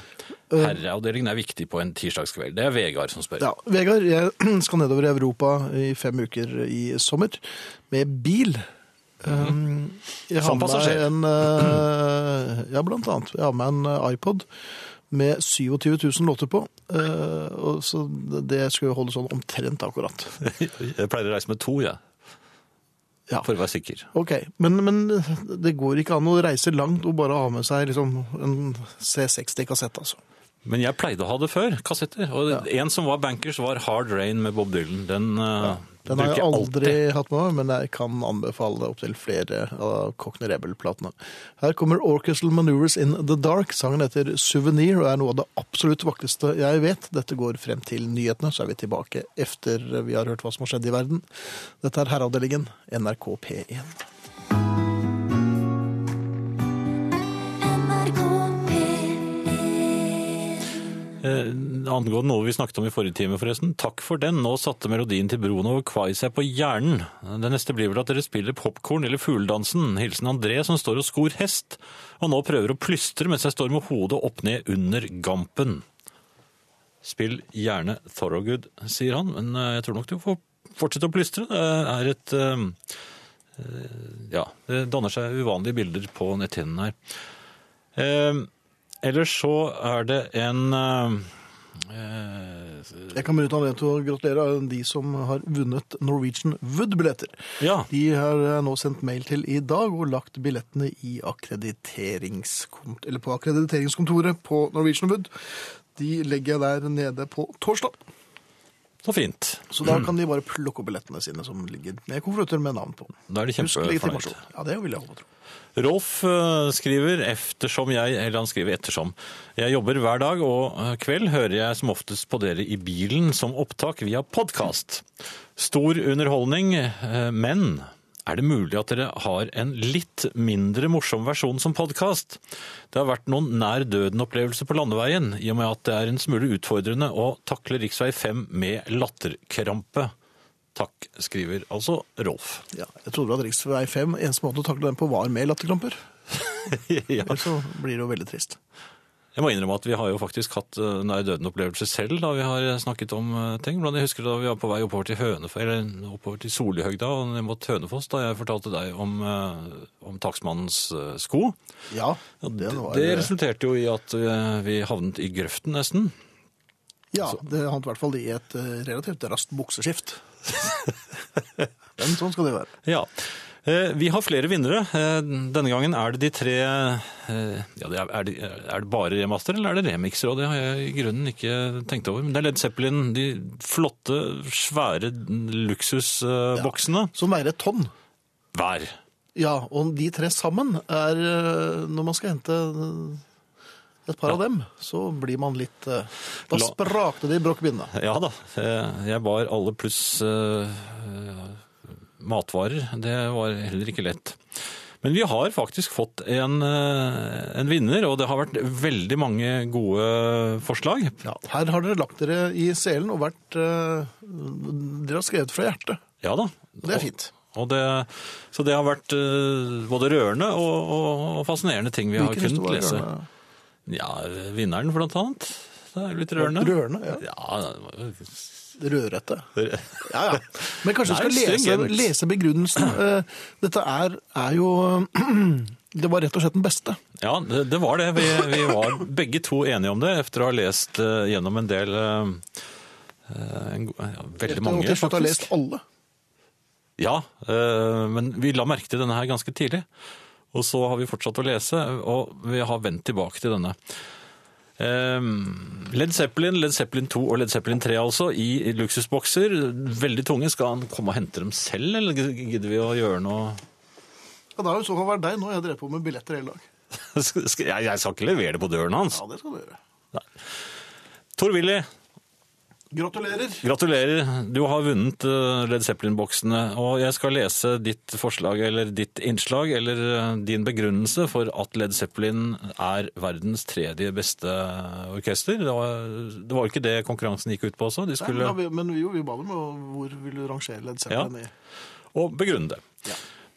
B: Herreavdelingen er viktig på en tirsdagskveld. Det er Vegard som spør.
A: Ja, Vegard, jeg skal nedover i Europa i fem uker i sommer med bil. Um, Jeg har
B: Mhm. Som
A: med meg
B: passasjer.
A: en eh, Ja, blant annet. Jeg har med meg en eh, iPod med 27 000 låter på. eh, og så det skal jo holde sånn omtrent akkurat.
B: Jeg pleier å reise med to, jeg.
A: Ja.
B: For å være sikker.
A: Ok, men, men det går ikke an å reise langt og bare ha med seg liksom en C60-kassett, altså.
B: Men jeg pleide å ha det før, kassetter. Og en som var bankers, var Hard Rain med Bob Dylan. Den, eh,
A: Den har
B: bruker
A: jeg aldri
B: alltid.
A: hatt med meg, men jeg kan anbefale opptil flere av Cockney Rebel-platene. Her kommer Orchestral Maneuvers in the Dark. Sangen heter Souvenir og er noe av det absolutt vakreste jeg vet. Dette går frem til nyhetene, så er vi tilbake efter vi har hørt hva som har skjedd i verden. Dette er Herreavdelingen, NRK P1.
C: NRK P1
B: Eh, angående noe vi snakket om i forrige time, forresten. Takk for den. Nå satte melodien til Bruno og Kvai seg på hjernen. Det neste blir vel at dere spiller popkorn eller fugledansen. Hilsen André som står og skor hest, og nå prøver å plystre mens jeg står med hodet opp ned under gampen. Spill gjerne Thorogood, sier han, men eh, jeg tror nok du får fortsette å plystre. Det er et eh, eh, Ja, det danner seg uvanlige bilder på netthinnen her. Eh, Ellers så er det en eh, eh,
A: Jeg kan benytte anledningen til å gratulere de som har vunnet Norwegian Wood-billetter.
B: Ja.
A: De har jeg nå sendt mail til i dag og lagt billettene i akkrediteringskont eller på akkrediteringskontoret på Norwegian Wood. De legger jeg der nede på torsdag.
B: Så fint.
A: Så da kan de bare plukke opp billettene sine som ligger med konvolutter med navn på.
B: Da er de
A: Husk
B: kjempefornøyd.
A: legitimasjon. Ja, det vil jeg håpe og tro.
B: Rolf eh, skriver eftersom jeg, eller han skriver ettersom. Jeg jobber hver dag, og eh, kveld hører jeg som oftest på dere i bilen som opptak via podkast. Stor underholdning, eh, men er det mulig at dere har en litt mindre morsom versjon som podkast? Det har vært noen nær døden-opplevelser på landeveien, i og med at det er en smule utfordrende å takle rv. 5 med latterkrampe. Takk, skriver altså Rolf.
A: Ja, jeg trodde at Riksvei 5, eneste måte å takle den på var med latterkramper.
B: ja.
A: Ellers så blir det jo veldig trist.
B: Jeg må innrømme at vi har jo faktisk hatt eh, nær døden opplevelser selv da vi har snakket om eh, ting. Blant annet, jeg husker da vi var på vei oppover til, Hønef eller oppover til Solihøgda og ned mot Hønefoss, da jeg fortalte deg om, eh, om takstmannens eh, sko.
A: Ja,
B: Det,
A: den var, eh,
B: resulterte jo i at eh, vi havnet i grøften nesten.
A: ja, det havnet i hvert fall i et eh, relativt raskt bukseskift. Men sånn skal det være.
B: Ja. Eh, Vi har flere vinnere. Eh, Denne gangen er det de tre eh, ja, det er, er, det, er det bare remaster, eller er det remixer? Og det har jeg i grunnen ikke tenkt over. Men det er Led Zeppelin, de flotte, svære luksusboksene
A: Som veier et tonn.
B: hver.
A: Ja, og de tre sammen er eh, Når man skal hente eh, et par av dem, så blir man litt eh, Da
B: La-
A: sprakte det i bråkbindet.
B: Ja da. eh, Jeg bar alle pluss eh, matvarer. Det var heller ikke lett. Men vi har faktisk fått en, eh, en vinner, og det har vært veldig mange gode forslag.
A: Ja, her har dere lagt dere i selen og vært eh, Dere har skrevet fra hjertet.
B: Ja da.
A: Det er fint.
B: Og det, så det har vært eh, både rørende og, og, og fascinerende ting vi har
A: Hvilken
B: kunnet
A: historie er
B: lese.
A: rørende?
B: Ja, Vinneren, blant annet. Det er jo litt rørende.
A: Rørende, ja.
B: Ja, det var jo-
A: Rødrette. Ja, ja. Men kanskje
B: Nei,
A: du skal lese,
B: stringent.
A: lese begrunnelsen. Eh, Dette er, er jo Det var rett og slett den beste.
B: ja det, det var det. Vi, vi var begge to enige om det etter å ha lest eh, gjennom en del eh, eh, en, go- ja, Veldig mange,
A: Til slutt har jeg lest
B: faktisk.
A: alle.
B: Ja, eh, men vi la merke til denne her ganske tidlig. Og så har vi fortsatt å lese, og vi har vendt tilbake til denne. Eh, Led Zeppelin, Led Zeppelin 2 og Led Zeppelin 3 altså, i luksusbokser. Veldig tunge. Skal han komme og hente dem selv, eller gidder vi å gjøre noe?
A: Ja, da har jo så vært deg. Nå har jeg drevet på med billetter hele dag.
B: Skal- skal- Jeg jeg skal ikke levere det på døren hans.
A: Ja, det skal du gjøre.
B: Tor-Willy,
A: Gratulerer.
B: gratulerer. Du har vunnet eh, Led Zeppelin-boksene. Og jeg skal lese ditt forslag, eller ditt innslag, eller eh, din begrunnelse for at Led Zeppelin er verdens tredje beste orkester. Det var, det var jo ikke det konkurransen gikk ut på også. De
A: Nei, men,
B: skulle...
A: da, vi- men jo, vi ba dem om hvor vil du rangere Led Zeppelin
B: Ja.
A: i.
B: og begrunne det.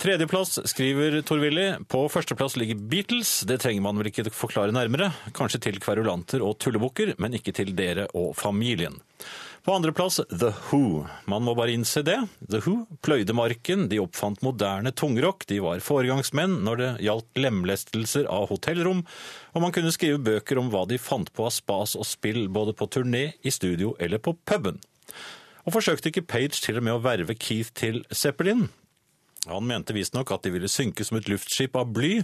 B: Tredjeplass skriver Tor-Willy. På førsteplass ligger Beatles. Det trenger man vel ikke forklare nærmere. Kanskje til kverulanter og tullebukker, men ikke til dere og familien. På andreplass The Who. Man må bare innse det. The Who pløyde marken, de oppfant moderne tungrock, de var foregangsmenn når det gjaldt lemlestelser av hotellrom, og man kunne skrive bøker om hva de fant på av spas og spill, både på turné, i studio eller på puben. Og forsøkte ikke Page til og med å verve Keith til Zeppelin? Han mente visstnok at de ville synke som et luftskip av bly,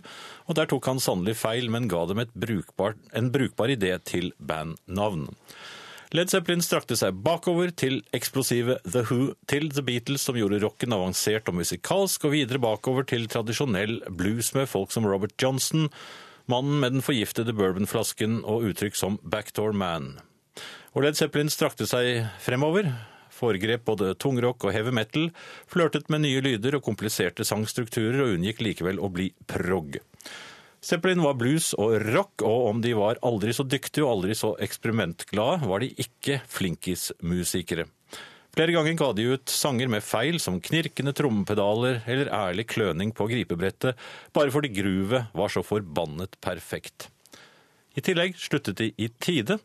B: og der tok han sannelig feil, men ga dem et brukbar, en brukbar idé til bandnavn. Led Zeppelin strakte seg bakover til eksplosive The Who, til The Beatles som gjorde rocken avansert og musikalsk, og videre bakover til tradisjonell blues med folk som Robert Johnson, mannen med den forgiftede bourbonflasken og uttrykk som Backdoor Man. Og Led Zeppelin strakte seg fremover, foregrep både tungrock og heavy metal, flørtet med nye lyder og kompliserte sangstrukturer, og unngikk likevel å bli prog. Zeppelin var blues og rock, og om de var aldri så dyktige og aldri så eksperimentglade, var de ikke flinkismusikere. Flere ganger ga de ut sanger med feil som knirkende trommepedaler eller ærlig kløning på gripebrettet, bare fordi groovet var så forbannet perfekt. I tillegg sluttet de i tide.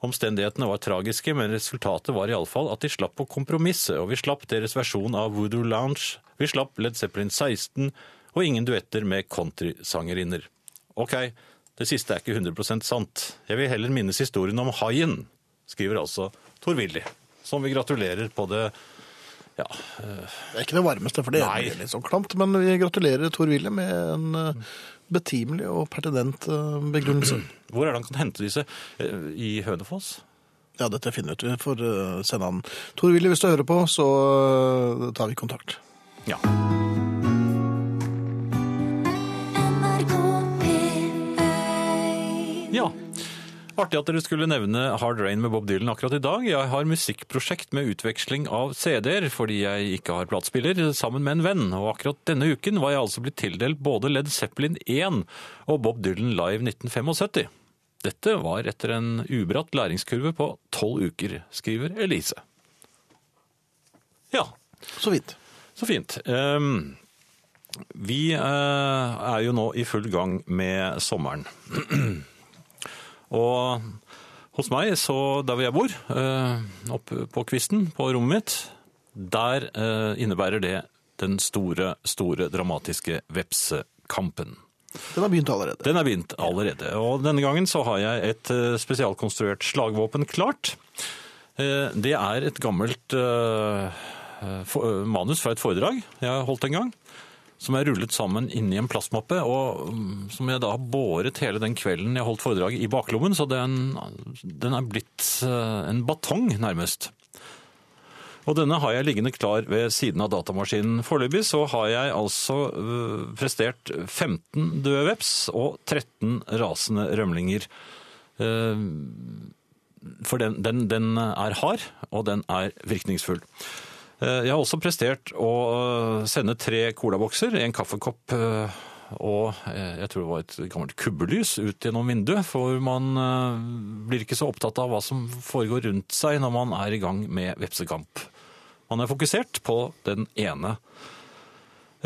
B: Omstendighetene var tragiske, men resultatet var iallfall at de slapp å kompromisse, og vi slapp deres versjon av Voodoo Lounge, vi slapp Led Zeppelin 16, og ingen duetter med countrysangerinner. Ok, det siste er ikke 100 sant. Jeg vil heller minnes historien om haien, skriver altså Tor-Willy, som vi gratulerer på det ja,
A: Det er ikke det varmeste, for det
B: Nei.
A: er litt sånn klamt. Men vi gratulerer Tor Wilhelm med en eh, betimelig og pertinent eh, begrunnelse.
B: Hvor er det han kan hente disse? Eh, I Hønefoss?
A: Ja, dette finner vi ut. Vi får eh, sende han Tor Willy, hvis du hører på, så eh, tar vi kontakt.
B: Ja.
C: NRK P1
B: ja. Artig at dere skulle nevne Hard Rain med Bob Dylan akkurat i dag. Jeg har musikkprosjekt med utveksling av CD-er fordi jeg ikke har platespiller, sammen med en venn. Og akkurat denne uken var jeg altså blitt tildelt både Led Zeppelin 1 og Bob Dylan Live 1975. Dette var etter en ubratt læringskurve på tolv uker, skriver Elise. Ja,
A: Så vidt.
B: Så fint. Ehm, vi eh, er jo nå i full gang med sommeren. Og hos meg, så der hvor jeg bor, eh, oppe på kvisten på rommet mitt, der eh, innebærer det den store, store dramatiske vepsekampen.
A: Den har begynt allerede.
B: Den er begynt allerede, og denne gangen så har jeg et eh, spesialkonstruert slagvåpen klart. Eh, Det er et gammelt eh, eh, for- eh, manus fra et foredrag jeg har holdt en gang, som jeg rullet sammen inni en plastmappe, og mm, som jeg da har båret hele den kvelden jeg holdt foredraget i baklommen, så den, den er blitt eh, en batong nærmest. Og denne har jeg liggende klar ved siden av datamaskinen. Foreløpig så har jeg altså øh, prestert 15 døde veps og 13 rasende rømlinger. Ehm, For den, den, den er hard, og den er virkningsfull. Eh, Jeg har også prestert å øh, sende tre colabokser, en kaffekopp øh, og eh, jeg tror det var et gammelt kubbelys ut gjennom vinduet, for man øh, blir ikke så opptatt av hva som foregår rundt seg når man er i gang med vepsekamp. Man er fokusert på den ene.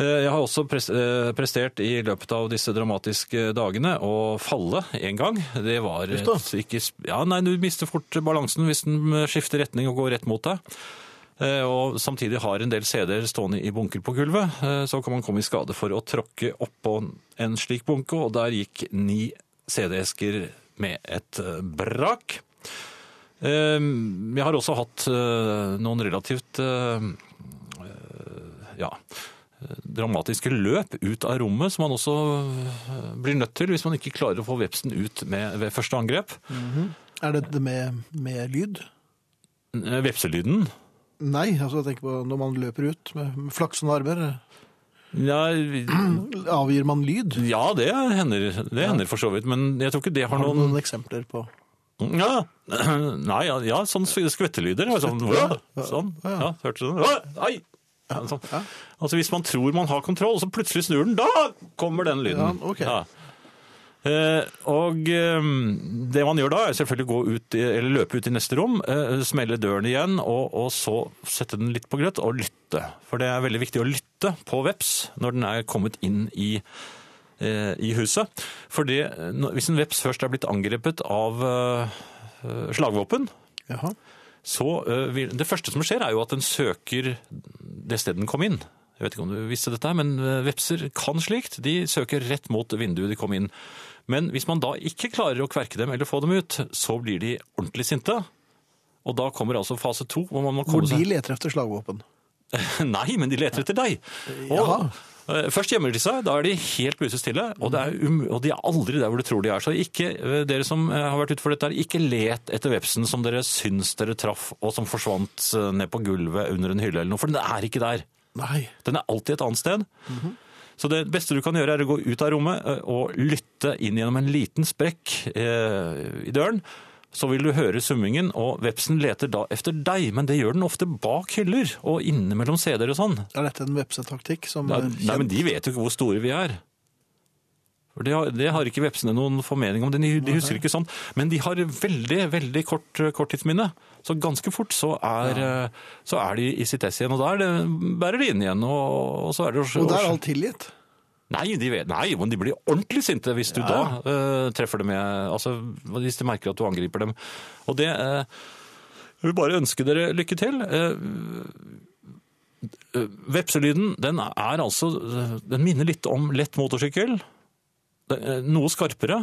B: Eh, Jeg har også pres- eh, prestert i løpet av disse dramatiske dagene å falle en gang. Det var
A: Uff da.
B: et ikke, sp- ja, nei, du mister fort balansen hvis den eh, skifter retning og går rett mot deg. Eh, Og samtidig har en del CD-er stående i bunker på gulvet. eh, Så kan man komme i skade for å tråkke oppå en slik bunke, og der gikk ni CD-esker med et eh, brak. Eh, Jeg har også hatt eh, noen relativt eh, eh, ja, eh, dramatiske løp ut av rommet, som man også eh, blir nødt til hvis man ikke klarer å få vepsen ut med, ved første angrep.
A: Er dette med, med lyd?
B: Eh, Vepselyden
A: Nei, altså jeg tenker på når man løper ut med, med flaksende armer.
B: ja,
A: Avgir man lyd?
B: ja, det hender, det hender for så vidt, men jeg tror ikke det har
A: Har du
B: noen
A: noen eksempler på
B: Ja, Nei, ja, ja sånn skvettelyder. Sånn,
A: Skvette, ja.
B: sånn.
A: Ja, ja.
B: Ja, hørte du det? Åh, Ai! Ja, Sånn. Altså, hvis man tror man har kontroll, så plutselig snur den, da kommer den lyden.
A: Ja, ok.
B: Eh, og eh, det man gjør da, er selvfølgelig å gå ut, i- eller løpe ut i neste rom, eh, smelle døren igjen, og, og så sette den litt på grøt og lytte. For det er veldig viktig å lytte på veps når den er kommet inn i eh, i huset. For det, når- hvis en veps først er blitt angrepet av eh, eh, slagvåpen,
A: Jaha.
B: så eh, vil Det første som skjer, er jo at den søker det stedet den kom inn. Jeg vet ikke om du visste dette, her, men eh, vepser kan slikt. De søker rett mot vinduet de kom inn. Men hvis man da ikke klarer å kverke dem eller få dem ut, så blir de ordentlig sinte. Og da kommer altså fase to. Hvor man må
A: Hvor
B: komme
A: de
B: seg...
A: leter efter slagvåpen.
B: Nei, men de leter etter deg.
A: Jaha.
B: Og, eh, først gjemmer de seg, da er de helt musestille, og, det er um, og de er aldri der hvor du tror de er. Så ikke, eh, dere som eh, har vært ute for dette, her, ikke let etter vepsen som dere syns dere traff, og som forsvant eh, ned på gulvet under en hylle eller noe, for den er ikke der.
A: Nei.
B: Den er alltid et annet sted. Så det beste du kan gjøre er å gå ut av rommet eh, og lytte inn gjennom en liten sprekk eh, i døren. Så vil du høre summingen, og vepsen leter da efter deg, men det gjør den ofte bak hyller og inne mellom CD-er og sånn.
A: Er dette en vepsetaktikk som eh,
B: Nei,
A: er
B: nei, men
A: kjent?
B: de vet jo ikke hvor store vi er. For Det har, det har ikke vepsene noen formening om. De, de husker ikke sånn. Men de har veldig veldig kort eh, korttidsminne. Så ganske fort så er, eh, så er de i sitt ess igjen. Og da er det, bærer de inn igjen. Og, og så er det å-
A: Og der er alt tilgitt.
B: Nei, de vet, nei, men de blir ordentlig sinte hvis du da eh, treffer dem. Med, altså, hvis de merker at du angriper dem. Og det eh, Jeg vil bare ønske dere lykke til. Eh, eh, vepselyden den er altså eh, Den minner litt om lett motorsykkel. Det er Noe skarpere.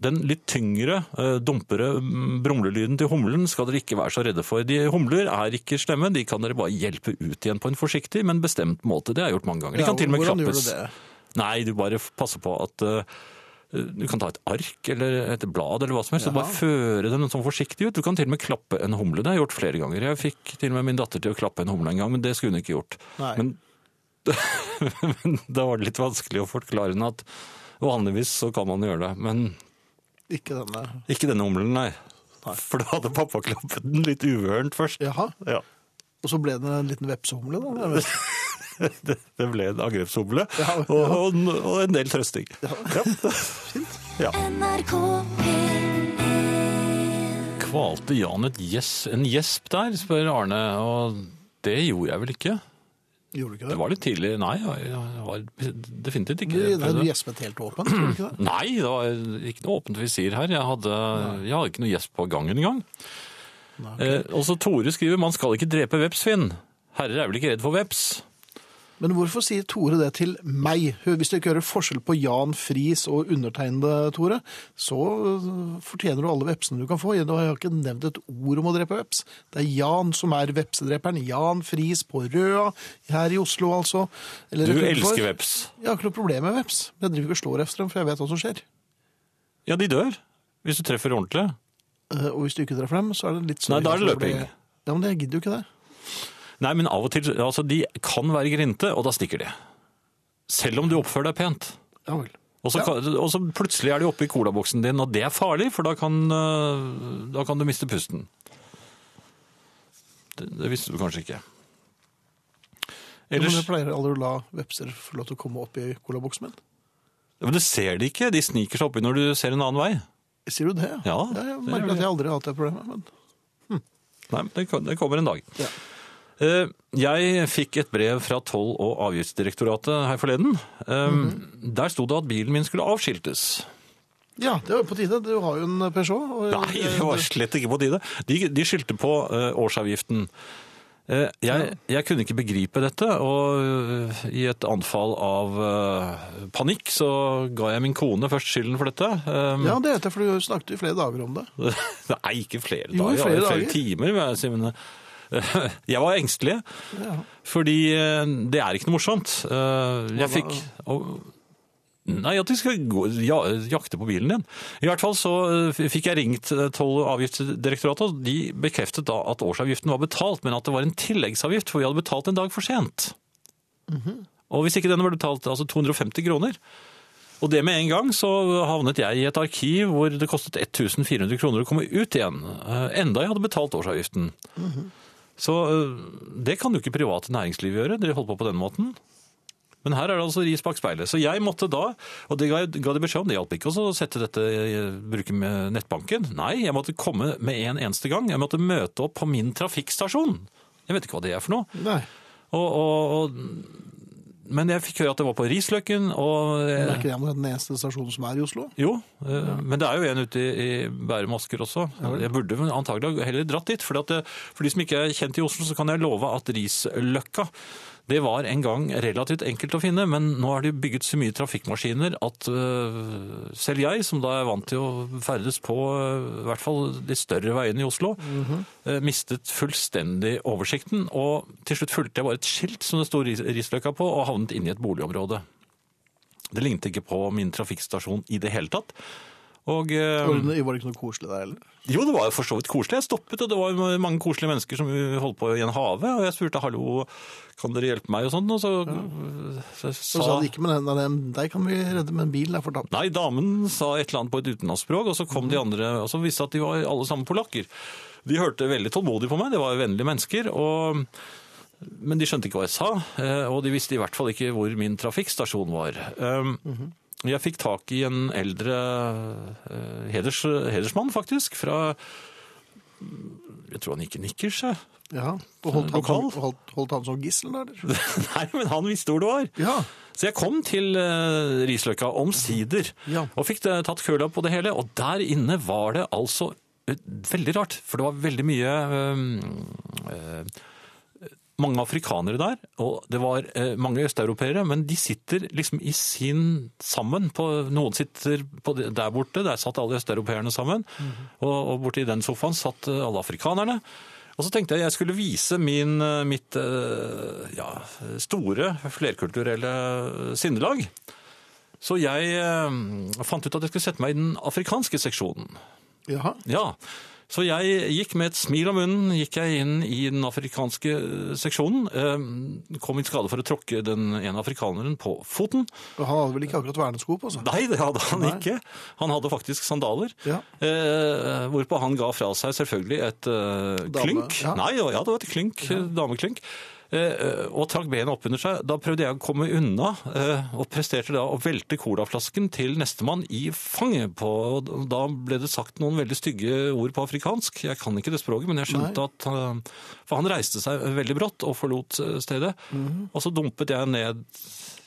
B: Den litt tyngre, eh, dumpere mm, brumlelyden til humlen skal dere ikke være så redde for. De humler er ikke slemme, de kan dere bare hjelpe ut igjen på en forsiktig, men bestemt måte. Det har jeg gjort mange ganger. De kan til og med
A: hvordan gjør
B: klappes.
A: du det?
B: Nei, du bare passer på at eh, Du kan ta et ark eller et blad eller hva som helst, og
A: Ja.
B: bare føre den sånn forsiktig ut. Du kan til og med klappe en humle. Det har jeg gjort flere ganger. Jeg fikk til og med min datter til å klappe en humle en gang, men det skulle hun ikke gjort.
A: Nei.
B: Men, men da var det litt vanskelig å forklare henne at vanligvis så kan man gjøre det, men
A: Ikke denne.
B: ikke denne humlen, nei.
A: Nei.
B: For da hadde pappa klappet den litt uvørent først.
A: Jaha.
B: Ja.
A: Og så ble det en liten vepsehumle, da. Jeg vet.
B: Det, det ble en angrepshumle
A: Ja, ja.
B: og, og en del trøsting. Ja.
C: NRK P1
B: Kvalte Jan et gjes- en gjesp der, spør Arne. Og det gjorde jeg vel ikke.
A: Gjorde du ikke det?
B: Det var litt tidlig. Nei, jeg jeg var definitivt ikke
A: Du- nei, du
B: det.
A: gjespet helt åpent, gjorde du ikke det?
B: Nei, det var ikke noe åpent visir her. Jeg hadde, jeg hadde ikke noe gjesp på gangen engang.
A: Nei,
B: Eh, også Tore skriver 'Man skal ikke drepe veps, Finn'. Herrer er vel ikke redd for veps?
A: Men hvorfor sier Tore det til meg? Hør, Hvis du ikke hører forskjell på Jan Friis og undertegnede, Tore, så øh, fortjener du alle vepsene du kan få. Jeg har ikke nevnt et ord om å drepe veps. Det er Jan som er vepsedreperen. Jan Friis på Røa, her i Oslo altså. Eller
B: Du
A: rett utenfor.
B: elsker veps.
A: Jeg har ikke noe problem med veps. men Jeg driver ikke og slår efter dem, for jeg vet hva som skjer.
B: Ja, de dør. Hvis du treffer ordentlig.
A: Eh, Og hvis du ikke treffer dem, så er det litt sånn...
B: Nei, da er det
A: så blir-
B: løping.
A: Ja, men jeg gidder jo ikke det.
B: Nei, men av og til altså, De kan være grinte, og da stikker de. Selv om du oppfører deg pent.
A: Ja vel.
B: Og så, kan- og så plutselig er de oppe i colaboksen din, og det er farlig, for da kan, øh, da kan du miste pusten. Det, det visste du kanskje ikke.
A: Men
B: Ellers,
A: jeg pleier aldri å la vepser få lov til å komme opp i colaboksen min.
B: men du ser de ikke, de sniker seg oppi når du ser en annen vei.
A: Sier du det?
B: Ja,
A: Jeg
B: det gjør
A: merker
B: det.
A: at jeg aldri har hatt det problemet. Men...
B: Nei, men det, kan- det kommer en dag.
A: Ja.
B: Eh, Jeg fikk et brev fra Toll- og avgiftsdirektoratet her forleden. Eh,
A: Mhm.
B: Der sto det at bilen min skulle avskiltes.
A: Ja, det var jo på tide. Du har jo en Peugeot. Og
B: Nei, det var slett ikke på tide. De, de skyldte på eh, årsavgiften. Eh, jeg, jeg kunne ikke begripe dette, og eh, i et anfall av eh, panikk så ga jeg min kone først skylden for dette. Eh,
A: Ja, det vet jeg, for du snakket i flere dager om det.
B: Nei, ikke flere
A: Jo, i flere
B: dager, det var
A: dager.
B: flere timer. vil Jeg, si, men, eh, jeg var engstelig,
A: Ja.
B: fordi eh, det er ikke noe morsomt. Eh, Jeg fikk... og- Nei, at de skal gå, ja, jakte på bilen din. I hvert fall så eh, fikk jeg ringt eh, Toll- og avgiftsdirektoratet, og de bekreftet da at årsavgiften var betalt, men at det var en tilleggsavgift, for vi hadde betalt en dag for sent.
A: Mhm.
B: Og hvis ikke denne ble betalt, altså 250 kroner. Og det med en gang så havnet jeg i et arkiv hvor det kostet 1400 kroner å komme ut igjen, eh, enda jeg hadde betalt årsavgiften. Så eh, det kan jo ikke private næringsliv gjøre, dere holder på på den måten. Men her er det altså ris bak speilet. Så jeg måtte da, og det ga, ga de beskjed om, det hjalp ikke også å sette dette, eh, bruke med nettbanken. Nei, jeg måtte komme med en eneste gang. Jeg måtte møte opp på min trafikkstasjon. Jeg vet ikke hva det er for noe.
A: Nei,
B: Og, og, og, men jeg fikk høre at det var på Risløkken, og
A: det
B: eh,
A: er ikke det med den eneste stasjonen som er i Oslo.
B: jo, eh, men det er jo en ute i i Bærum og Asker også. Jeg burde vel antagelig heller dratt dit. For, at det, for de som ikke er kjent i Oslo, så kan jeg love at Risløkka det var en gang relativt enkelt å finne, men nå har de bygget så mye trafikkmaskiner at eh, selv jeg, som da er vant til å ferdes på eh, i hvert fall de større veiene i Oslo, eh, mistet fullstendig oversikten. Og til slutt fulgte jeg bare et skilt som det sto Ris- Risløkka på, og havnet inne i et boligområde. Det lignet ikke på min trafikkstasjon i det hele tatt. Og eh,
A: Var det var det ikke noe koselig der heller?
B: jo, det var jo for så vidt koselig. Jeg stoppet, og det var jo mange koselige mennesker som holdt på i en have. Og jeg spurte 'hallo, kan dere hjelpe meg?' og sånn, og så, så,
A: Så sa de ikke, men nei, nei, deg kan vi redde, men bilen er fortapt.
B: Nei, damen sa et eller annet på et utenlandsspråk, og så kom de andre, og så visste at de var alle sammen polakker. De hørte veldig tålmodig på meg, de var vennlige mennesker, og, men de skjønte ikke hva jeg sa, eh, og de visste i hvert fall ikke hvor min trafikkstasjon var. Um, Jeg fikk tak i en eldre eh, heders, hedersmann, faktisk, fra jeg tror han gikk i nikkers. jeg.
A: Ja, og holdt han, som,
B: Lokal?
A: holdt, holdt han som gissel der? eller?
B: Nei, men han visste hvor det var.
A: Ja,
B: Så jeg kom til eh, Risløkka omsider,
A: Ja.
B: og fikk det, tatt køla på det hele. Og der inne var det altså eh, veldig rart, for det var veldig mye eh, eh, Mange afrikanere der, og det var eh, mange østeuropeere, men de sitter liksom i sin sammen. På, noen sitter på det, der borte, der satt alle østeuropeerne sammen. og, og borte i den sofaen satt eh, alle afrikanerne. Og så tenkte jeg jeg skulle vise min, eh, mitt eh, ja, store flerkulturelle sinnelag. Så jeg eh, fant ut at jeg skulle sette meg i den afrikanske seksjonen.
A: Jaha.
B: Ja, så jeg gikk med et smil om munnen, gikk jeg inn i den afrikanske eh, seksjonen. Eh, Kom i skade for å tråkke den ene afrikaneren på foten.
A: Og han hadde vel ikke akkurat vernesko på seg?
B: Nei, det hadde han
A: Nei.
B: ikke. Han hadde faktisk sandaler.
A: Ja.
B: Eh, hvorpå han ga fra seg selvfølgelig et eh,
A: Dame,
B: klynk.
A: ja.
B: Nei, ja, det var et klynk, eh, dameklynk. Eh, eh, og trakk benet opp under seg. Da prøvde jeg å komme unna, eh, og presterte da å velte colaflasken til nestemann i fanget på og Da ble det sagt noen veldig stygge ord på afrikansk. Jeg kan ikke det språket, men jeg skjønte at eh, For han reiste seg veldig brått og forlot eh, stedet.
A: Mhm.
B: Og så dumpet jeg ned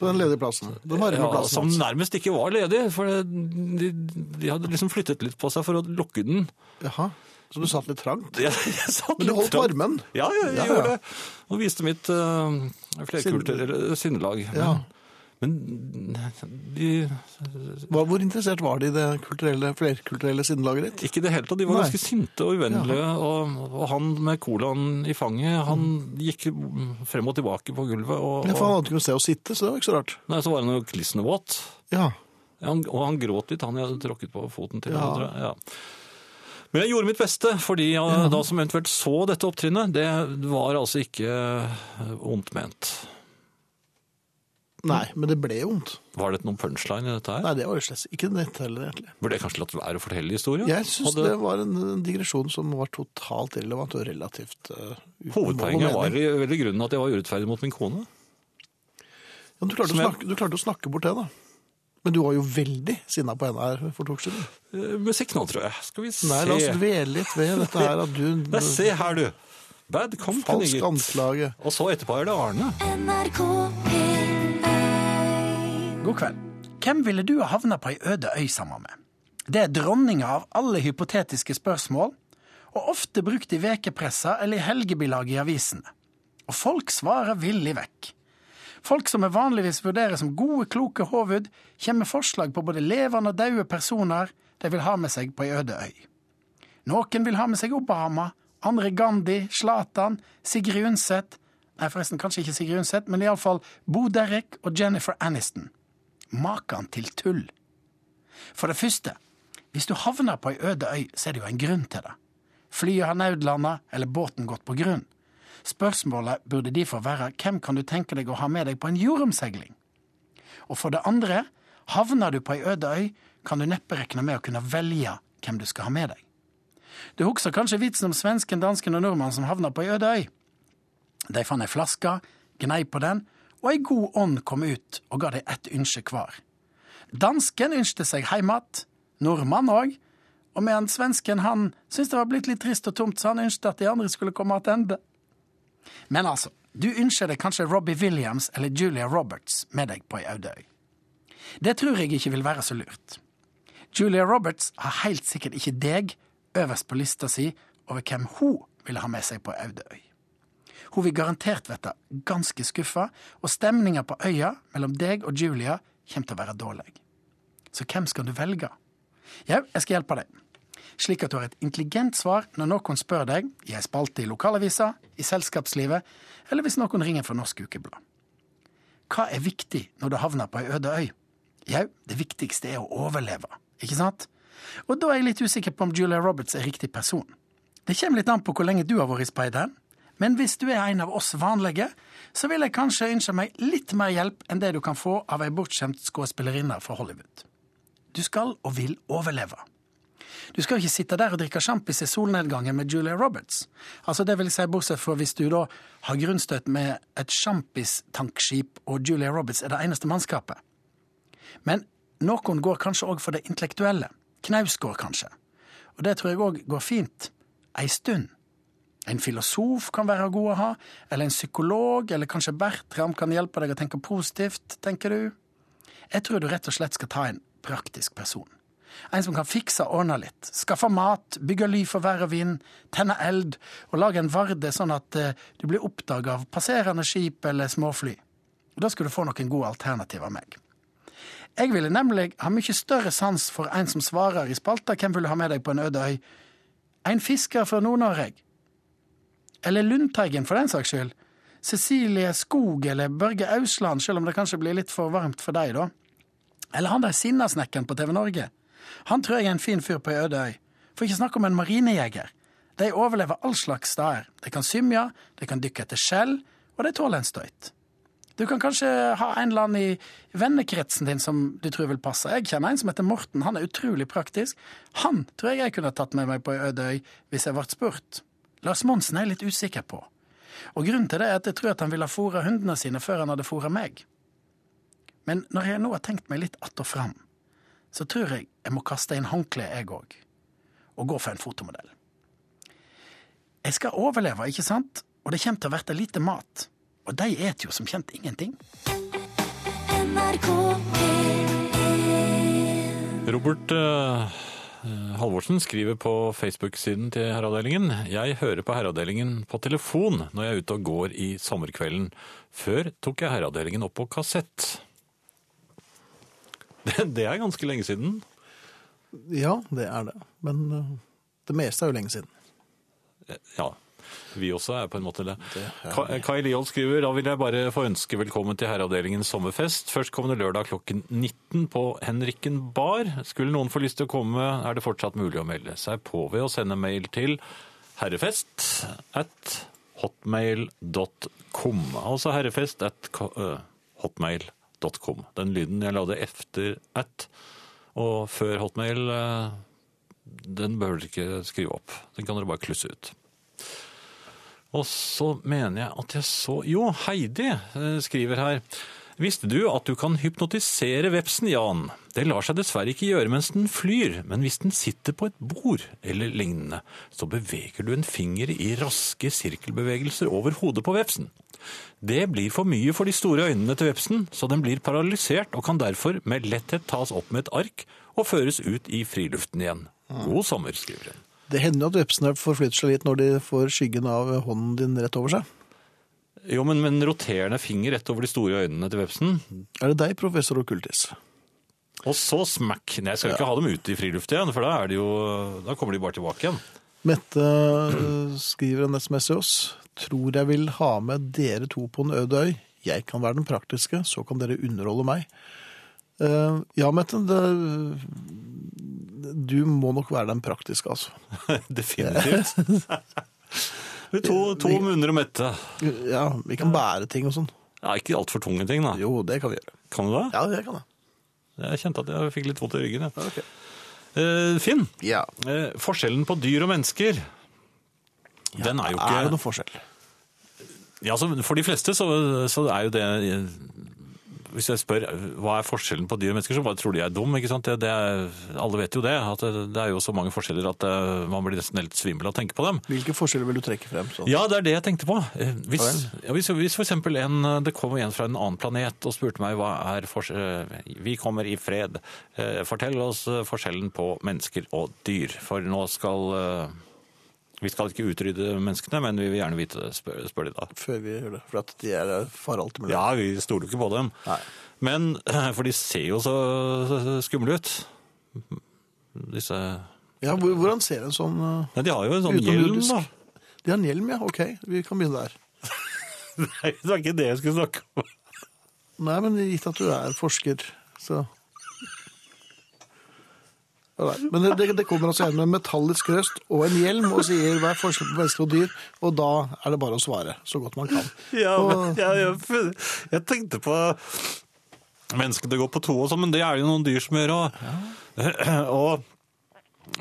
A: På den ledige plassen. Den varme
B: ja,
A: plassen.
B: som
A: hans.
B: nærmest ikke var ledig, for det- de, de hadde liksom flyttet litt på seg for å lukke den.
A: Jaha. Så du satt litt trangt?
B: Jeg, jeg satt
A: Men du
B: litt
A: holdt
B: trangt.
A: varmen?
B: Ja, jeg,
A: Ja,
B: jeg
A: ja.
B: gjorde det. Og viste mitt uh, flerkulturelle sinnelag.
A: Ja.
B: Men, men de,
A: Hva, hvor interessert var de i det kulturelle, flerkulturelle sinnelaget ditt?
B: ikke i det hele tatt. De var
A: Nei.
B: ganske sinte og uvennlige. Og, og han med colaen i fanget, han gikk frem og tilbake på gulvet. Og,
A: Mm. Ja, for han
B: og,
A: hadde ikke noe sted å sitte, så det var ikke så rart.
B: nei, så var han jo klissende våt.
A: Ja.
B: Han, og han gråt litt, han jeg hadde tråkket på foten til.
A: Ja.
B: tror jeg. Ja. Men jeg gjorde mitt beste, fordi jeg, da som eventuelt så dette opptrinnet, det var altså ikke eh, ondt ment.
A: Nei, men det ble vondt.
B: Var det noen punchline i dette her?
A: Nei, det var jo slett ikke nett heller, egentlig.
B: Burde jeg kanskje latt være å fortelle historien?
A: Jeg syns
B: Hadde-
A: det var en en digresjon som var totalt irrelevant og relativt eh, uten mål
B: Hovedpoenget
A: og
B: var
A: mening.
B: i vel i grunnen at jeg var urettferdig mot min kone.
A: ja, du, klarte å
B: som jeg-
A: snakke, du klarte å snakke bort det, da. Men du var jo veldig sinna på henne her for to uker siden.
B: Eh, Musikk nå, tror jeg. Skal vi se.
A: Nei, la oss dvele litt ved dette her at
B: Nei,
A: du
B: se her, du. Bad company,
A: Falsk
B: gitt.
A: anklage.
B: Og så etterpå er det Arne.
C: NRK P1
F: God kveld. Hvem ville du ha havna på ei øde øy sammen med? Det er dronninga av alle hypotetiske spørsmål, og ofte brukt i vekepressa eller i helgebilag i avisene. Og folk svarer villig vekk. Folk som vi vanligvis vurderer som gode, kloke hovud, kommer med forslag på både levende og døde personer de vil ha med seg på ei øde øy. Noen vil ha med seg Obama, andre Gandhi, Zlatan, Sigrid Undset Nei, forresten, kanskje ikke Sigrid Undset, men iallfall Bo Derek og Jennifer Aniston. Maken til tull. For det første, hvis du havner på ei øde øy, så er det jo en grunn til det. Flyet har nødlanda, eller båten gått på grunn. Spørsmålet burde derfor være hvem kan du tenke deg å ha med deg på en jordomseiling? Og for det andre, havner du på ei øde øy, kan du neppe regne med å kunne velge hvem du skal ha med deg. Du husker kanskje vitsen om svensken, dansken og nordmannen som havna på ei øde øy? De fant ei flaske, gnei på den, og ei god ånd kom ut og ga dem ett ønske hver. Dansken ønsket seg heim att, nordmannen òg, og medan svensken han syntes det var blitt litt trist og tomt, så han ønsket at de andre skulle komme attende. Men altså, du ønsker deg kanskje Robbie Williams eller Julia Roberts med deg på ei øde øy. Det tror jeg ikke vil være så lurt. Julia Roberts har helt sikkert ikke deg øverst på lista si over hvem hun ville ha med seg på ei øde øy. Hun vil garantert vette ganske skuffa, og stemninga på øya mellom deg og Julia kommer til å være dårlig. Så hvem skal du velge? Jau, jeg skal hjelpe deg. Slik at du har et intelligent svar når noen spør deg i ei spalte i lokalavisa, i selskapslivet, eller hvis noen ringer fra Norsk Ukeblad. Hva er viktig når du havner på ei øde øy? Jau, det viktigste er å overleve, ikke sant? Og da er jeg litt usikker på om Julia Roberts er riktig person. Det kommer litt an på hvor lenge du har vært i speideren, men hvis du er en av oss vanlige, så vil jeg kanskje ønske meg litt mer hjelp enn det du kan få av ei bortskjemt skuespillerinne fra Hollywood. Du skal og vil overleve. Du skal jo ikke sitte der og drikke sjampis i solnedgangen med Julia Roberts. Altså det vil si Bortsett fra hvis du da har grunnstøt med et sjampis-tankskip, og Julia Roberts er det eneste mannskapet. Men noen går kanskje òg for det intellektuelle. Knausgård, kanskje. Og det tror jeg òg går fint. Ei stund. En filosof kan være god å ha, eller en psykolog, eller kanskje Bertram kan hjelpe deg å tenke positivt, tenker du. Jeg tror du rett og slett skal ta en praktisk person. En som kan fikse og ordne litt, skaffe mat, bygge ly for vær og vind, tenne eld og lage en varde sånn at eh, du blir oppdaga av passerende skip eller småfly. Og Da skal du få noen gode alternativer av meg. Jeg ville nemlig ha mye større sans for en som svarer i spalta 'Hvem vil du ha med deg på en øde øy?' En fisker fra Nord-Norge. Eller Lundteigen, for den saks skyld. Cecilie Skog eller Børge Ausland, selv om det kanskje blir litt for varmt for deg, da. Eller han der sinnasnekkeren på TV Norge. Han tror jeg er en fin fyr på ei øde øy. For ikke snakk om en marinejeger. De overlever all slags steder. De kan svømme, de kan dykke etter skjell, og de tåler en støyt. Du kan kanskje ha en eller annen i vennekretsen din som du tror vil passe. Jeg kjenner en som heter Morten, han er utrolig praktisk. Han tror jeg jeg kunne tatt med meg på ei øde øy hvis jeg ble spurt. Lars Monsen er jeg litt usikker på. Og grunnen til det er at jeg tror at han ville ha fôra hundene sine før han hadde fôra meg. Men når jeg nå har tenkt meg litt att og fram, så tror jeg jeg må kaste inn håndkleet, jeg òg, og gå for en fotomodell. Jeg skal overleve, ikke sant? Og det kommer til å verte lite mat. Og de et jo som kjent ingenting.
C: NRK eh, P1
B: Robert eh, Halvorsen skriver på Facebook-siden til Herreavdelingen. Jeg hører på Herreavdelingen på telefon når jeg er ute og går i sommerkvelden. Før tok jeg Herreavdelingen opp på kassett. Det, det er ganske lenge siden.
A: Ja, det er det. Men eh, det meste er jo lenge siden.
B: Ja. Vi også er på en måte det. Ka- Kai Liold skriver da vil jeg bare få ønske velkommen til Herreavdelingens sommerfest. Førstkommende lørdag klokken 19 på Henrikken bar. Skulle noen få lyst til å komme, er det fortsatt mulig å melde seg på ved å sende mail til herrefest at hotmail.com. Altså herrefest at ko- øh, hotmail.com. Den lyden jeg la det efter at og før hotmail, øh, den behøver dere ikke skrive opp. Den kan dere bare klusse ut. Og så mener jeg at jeg så Jo, Heidi eh, skriver her. Visste du at du kan hypnotisere vepsen, Jan? Det lar seg dessverre ikke gjøre mens den flyr, men hvis den sitter på et bord eller lignende, så beveger du en finger i raske sirkelbevegelser over hodet på vepsen. Det blir for mye for de store øynene til vepsen, så den blir paralysert og kan derfor med letthet tas opp med et ark og føres ut i friluften igjen. God sommer, skriver hun.
A: Det hender jo at vepsene forflytter seg litt når de får skyggen av hånden din rett over seg.
B: Jo, men med en roterende finger rett over de store øynene til vepsen.
A: Er det deg, professor Okultis?
B: Og så smack! Nei, jeg skal ikke ha dem ut i friluft igjen, for da, er det jo, da kommer de bare tilbake igjen.
A: Mette øh, skriver en sms til oss. Tror jeg vil ha med dere to på en øde øy. Jeg kan være den praktiske, så kan dere underholde meg. Eh, ja, Mette, det, du må nok være den praktiske, altså.
B: Definitivt. Det er to, to munner å mette.
A: Ja, vi kan bære ting og sånn.
B: Ja, ikke altfor tunge ting, da.
A: Jo, det kan vi gjøre.
B: Kan du det?
A: Ja, det kan jeg.
B: Jeg kjente at jeg fikk litt vondt i ryggen. Jeg.
A: Ok.
B: Eh, Finn,
A: Ja.
B: eh, forskjellen på dyr og mennesker, den er jo ikke
A: Er det noen forskjell?
B: Ja, altså, For de fleste så, så er jo det Hvis jeg spør hva er forskjellen på dyr og mennesker, så bare tror de jeg er dum. ikke sant? Det, det er, alle vet jo det. at det, det er jo så mange forskjeller at eh, man blir nesten helt svimmel av å tenke på dem.
A: Hvilke forskjeller vil du trekke frem? Sånn?
B: Ja, det er det jeg tenkte på. Eh, Hvis, ja, hvis, hvis for eksempel en, eh, det kom en fra en annen planet og spurte meg hva er forskjellen Vi kommer i fred. Eh, Fortell oss eh, forskjellen på mennesker og dyr. For nå skal eh, Vi skal ikke utrydde menneskene, men vi vil gjerne vite det, spør, spør de da.
A: Før vi gjør det, for at de er faralt mulig.
B: Ja, vi stoler jo ikke på dem.
A: Nei.
B: Men, for de ser jo så skumle ut. Disse Nei,
A: Ja, hvor- hvordan ser en sånn øh,
B: de har jo en sånn hjelm,
A: Utenomjordisk.
B: da.
A: De har en hjelm, ja. Ok, vi kan begynne der.
B: Nei, det var ikke det jeg skulle snakke om.
A: Nei, men gitt at du er forsker, så Ja, nei. Men det, det kommer altså en med metallisk røst og en hjelm og sier hva er forskjell på mennesker og dyr, og da er det bare å svare så godt man kan.
B: Ja, men
A: Og-
B: jeg, jeg, jeg tenkte på menneskene går på to og sånn, men det er det jo noen dyr som gjør. Og, og,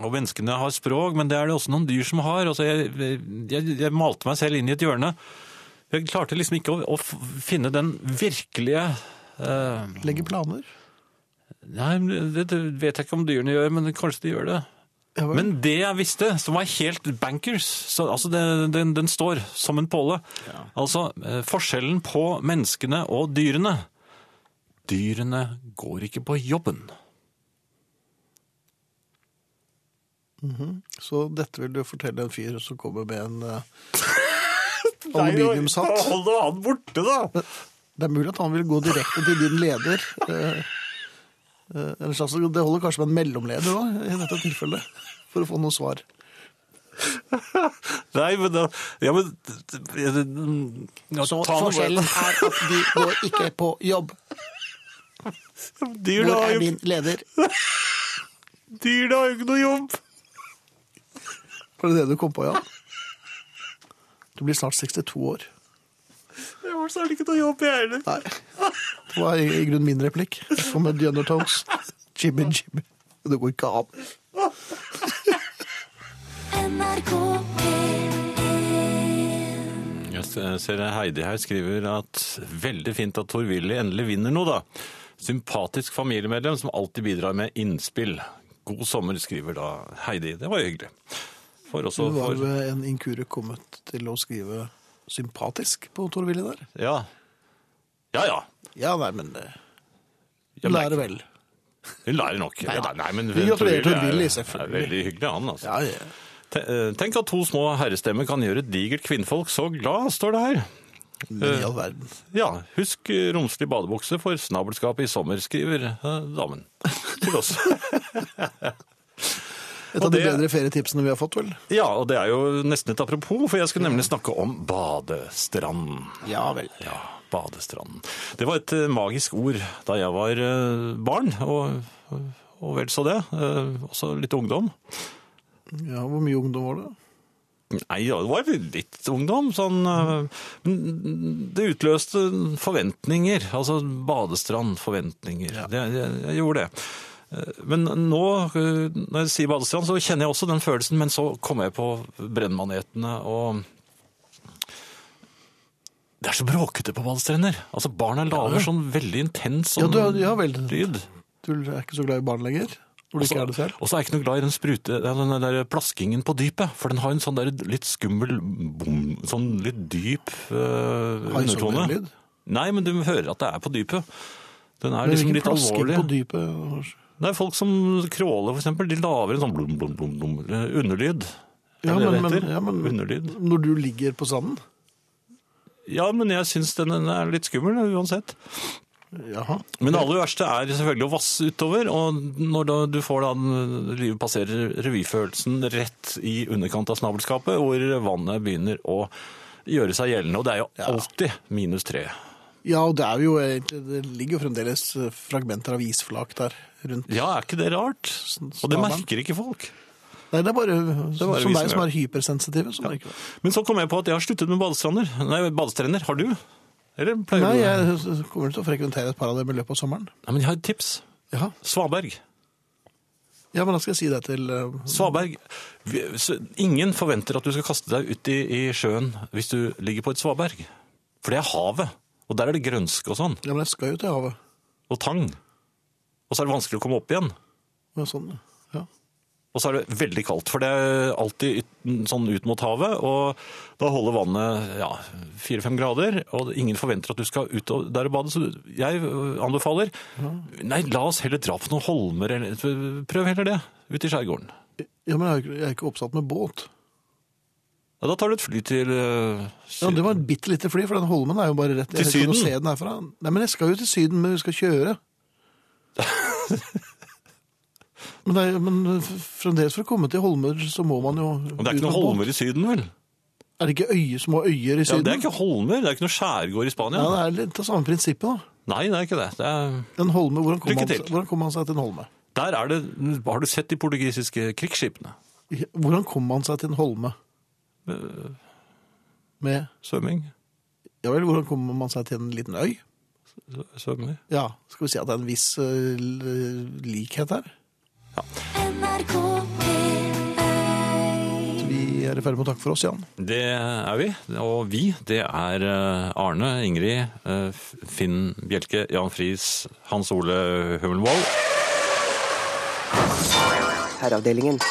B: og menneskene har språk, men det er det også noen dyr som har. Altså, jeg, jeg, jeg malte meg selv inn i et hjørne. Jeg klarte liksom ikke å, å f- finne den virkelige eh,
A: Legger planer.
B: Nei, men det det vet jeg ikke om dyrene gjør, men kanskje de gjør det.
A: Ja, vel.
B: Men det jeg visste, som var helt bankers, så, altså det, den, den står som en påle. Altså, eh, forskjellen på menneskene og dyrene. Dyrene går ikke på jobben.
A: Så dette vil du fortelle en fyr som kommer med en eh, aluminiumshatt.
B: Hold noe annet borte, da!
A: Det er mulig at han vil gå direkte til din leder. eh, eh, eller slags, det holder kanskje med en mellomleder òg, i dette tilfellet, for å få noe svar.
B: Nei, men da Ja, men ja,
A: Så
B: ta noe-
A: forskjellen er at de går ikke på jobb.
B: Dyrene
A: Hvor
B: har
A: er
B: jo
A: min leder?
B: dyrene har jo ikke noe jobb!
A: Var det det du kom på, Jan? Du blir snart 62 år.
B: Jeg har snart ikke noe jobb, jeg heller.
A: Nei. Det var i i grunnen min replikk. Og med The Undertones. Jimmy, Jimmy. Det går ikke an.
C: eh, NRK eh, P1
B: Jeg ser Heidi her skriver at veldig fint at Tor Willy endelig vinner noe, da. Sympatisk familiemedlem som alltid bidrar med innspill. God sommer, skriver da Heidi. Det var jo hyggelig. For
A: Du
B: også
A: var
B: for
A: ved en inkurie kommet til å skrive sympatisk på Tor Willy der.
B: Ja. Ja ja.
A: Ja, nei, men eh, Hun
B: Ja, men-
A: lærer vel.
B: Hun lærer nok. Ja, da, nei, men
A: Vi gratulerer Tor
B: er-
A: Willy,
B: er
A: selvfølgelig.
B: veldig hyggelig, han, altså.
A: Ja, ja.
B: Te- eh, Tenk at to små herrestemmer kan gjøre et digert kvinnfolk så glad, står det her.
A: Men i all verden.
B: Ja, husk eh, romslig badebukse for snabelskapet i sommer, skriver eh, damen til oss.
A: Et av
B: Og
A: de
B: det-
A: bedre ferietipsene vi har fått, vel?
B: Ja, og det er jo nesten et apropos, for jeg skulle nemlig snakke om badestranden.
A: Ja vel.
B: Ja, badestranden. Det var et eh, magisk ord da jeg var eh, barn, og, og vel så det. eh, Også litt ungdom.
A: Ja, Hvor mye ungdom var det?
B: Nei, ja, det var litt ungdom. Sånn, eh, men det utløste forventninger. Altså badestrand, forventninger. Det, jeg, jeg gjorde det. Eh, Men nå, eh, når jeg sier badestrand, så kjenner jeg også den følelsen. Men så kom jeg på brennmanetene og Det er så bråkete på badestrender. Altså, Barna lager sånn veldig intens
A: Ja,
B: sånn
A: du, ja vel.
B: lyd.
A: Du er ikke så glad i barn lenger? Når du ikke Altså, er det selv?
B: Og så er jeg ikke noe glad i den, sprute, ja, den der plaskingen på dypet, for den har en sånn der litt skummel, bom, sånn litt dyp eh,
A: Har en sånn
B: undertone.
A: lyd?
B: Nei, men du hører at det er på dypet. Den er
A: Men
B: liksom
A: hvilken
B: litt
A: plasking
B: alvorlig.
A: på dypet?
B: Det er folk som kråler, for eksempel, de laver en sånn blum, blum, blum, blum, eh, underlyd. Er
A: Ja,
B: det det
A: men-
B: det
A: men-
B: heter?
A: ja, men-
B: Underlyd.
A: Når du ligger på sanden?
B: Ja, men jeg syns den er litt skummel uansett.
A: Jaha.
B: Men det aller verste er selvfølgelig å vasse utover, og når da, du får da den- livet passerer revyfølelsen rett i underkant av snabelskapet, hvor vannet begynner å gjøre seg gjeldende, og det er jo alltid minus tre.
A: Ja, og det, er jo, egentlig- det ligger jo fremdeles eh, fragmenter av isflak der rundt.
B: Ja, er ikke det rart? Og det
A: Snabelen.
B: merker ikke folk.
A: Nei, det er bare,
B: bare
A: som
B: vi
A: deg
B: som
A: som
B: gjør
A: er hypersensitive. Som merker det.
B: Men så kom jeg på at jeg har sluttet med badestrander. Nei, badestrender. Har du? Eller pleier
A: Nei,
B: du?
A: jeg kommer til å frekventere et par av dem i løpet av sommeren.
B: Nei, men jeg har et tips.
A: Ja,
B: Svaberg.
A: ja men da skal jeg si det til eh,
B: Svaberg. Vi- s- Ingen forventer at du skal kaste deg uti i sjøen hvis du ligger på et svaberg. For det er havet, og der er det grønske og sånn.
A: Ja, men jeg skal jo til havet.
B: Og tang. Og så er det vanskelig å komme opp igjen.
A: Ja, sånn, ja.
B: Og så er det veldig kaldt, for det er alltid ut- sånn ut mot havet, og da holder vannet ja, 4-5 grader, og ingen forventer at du skal ut og der og bade, så jeg ø, anbefaler, nei, la oss heller dra på noen holmer, eller, prøv heller det, ute i skjærgården.
A: ja, men jeg er jo ikke- jeg er ikke oppsatt med båt.
B: Ja, da tar du et fly til... eh, ø,
A: Ja, Det var et bitte lite fly, for den holmen er jo bare rett
B: Til
A: jeg kan jo
B: Syden?
A: Se den herfra. Nei, men jeg skal jo til Syden, men vi skal kjøre. men, det er, jo- men f- fremdeles for å komme til holmer, så må man jo
B: Men det er ikke noen holmer i syden, vel?
A: Er det ikke øye, små øyer i
B: Ja,
A: Syden?
B: det er ikke holmer, det er ikke noe skjærgård i Spania.
A: Ja, det er litt av samme prinsippet, da.
B: Nei, det er ikke det. det er...
A: En holme, hvordan kom,
B: Lykke
A: han,
B: til.
A: hvordan kom han seg til en holme?
B: Der er det... Har du sett de portugisiske krigsskipene?
A: Hvordan kom han seg til en holme?
B: Øh.
A: Med
B: Svømming?
A: Ja vel, hvordan kommer man seg til en liten øy?
B: Svømming?
A: Ja, skal vi si at det er en viss eh, l- likhet her?
C: NRK P1
A: Vi er i ferd med å takke for oss, Jan.
B: Det er vi. Og vi, det er eh, Arne, Ingrid, eh, F- Finn Bjelke, Jan Friis, Hans Ole Hummelvold.
G: Herreavdelingen.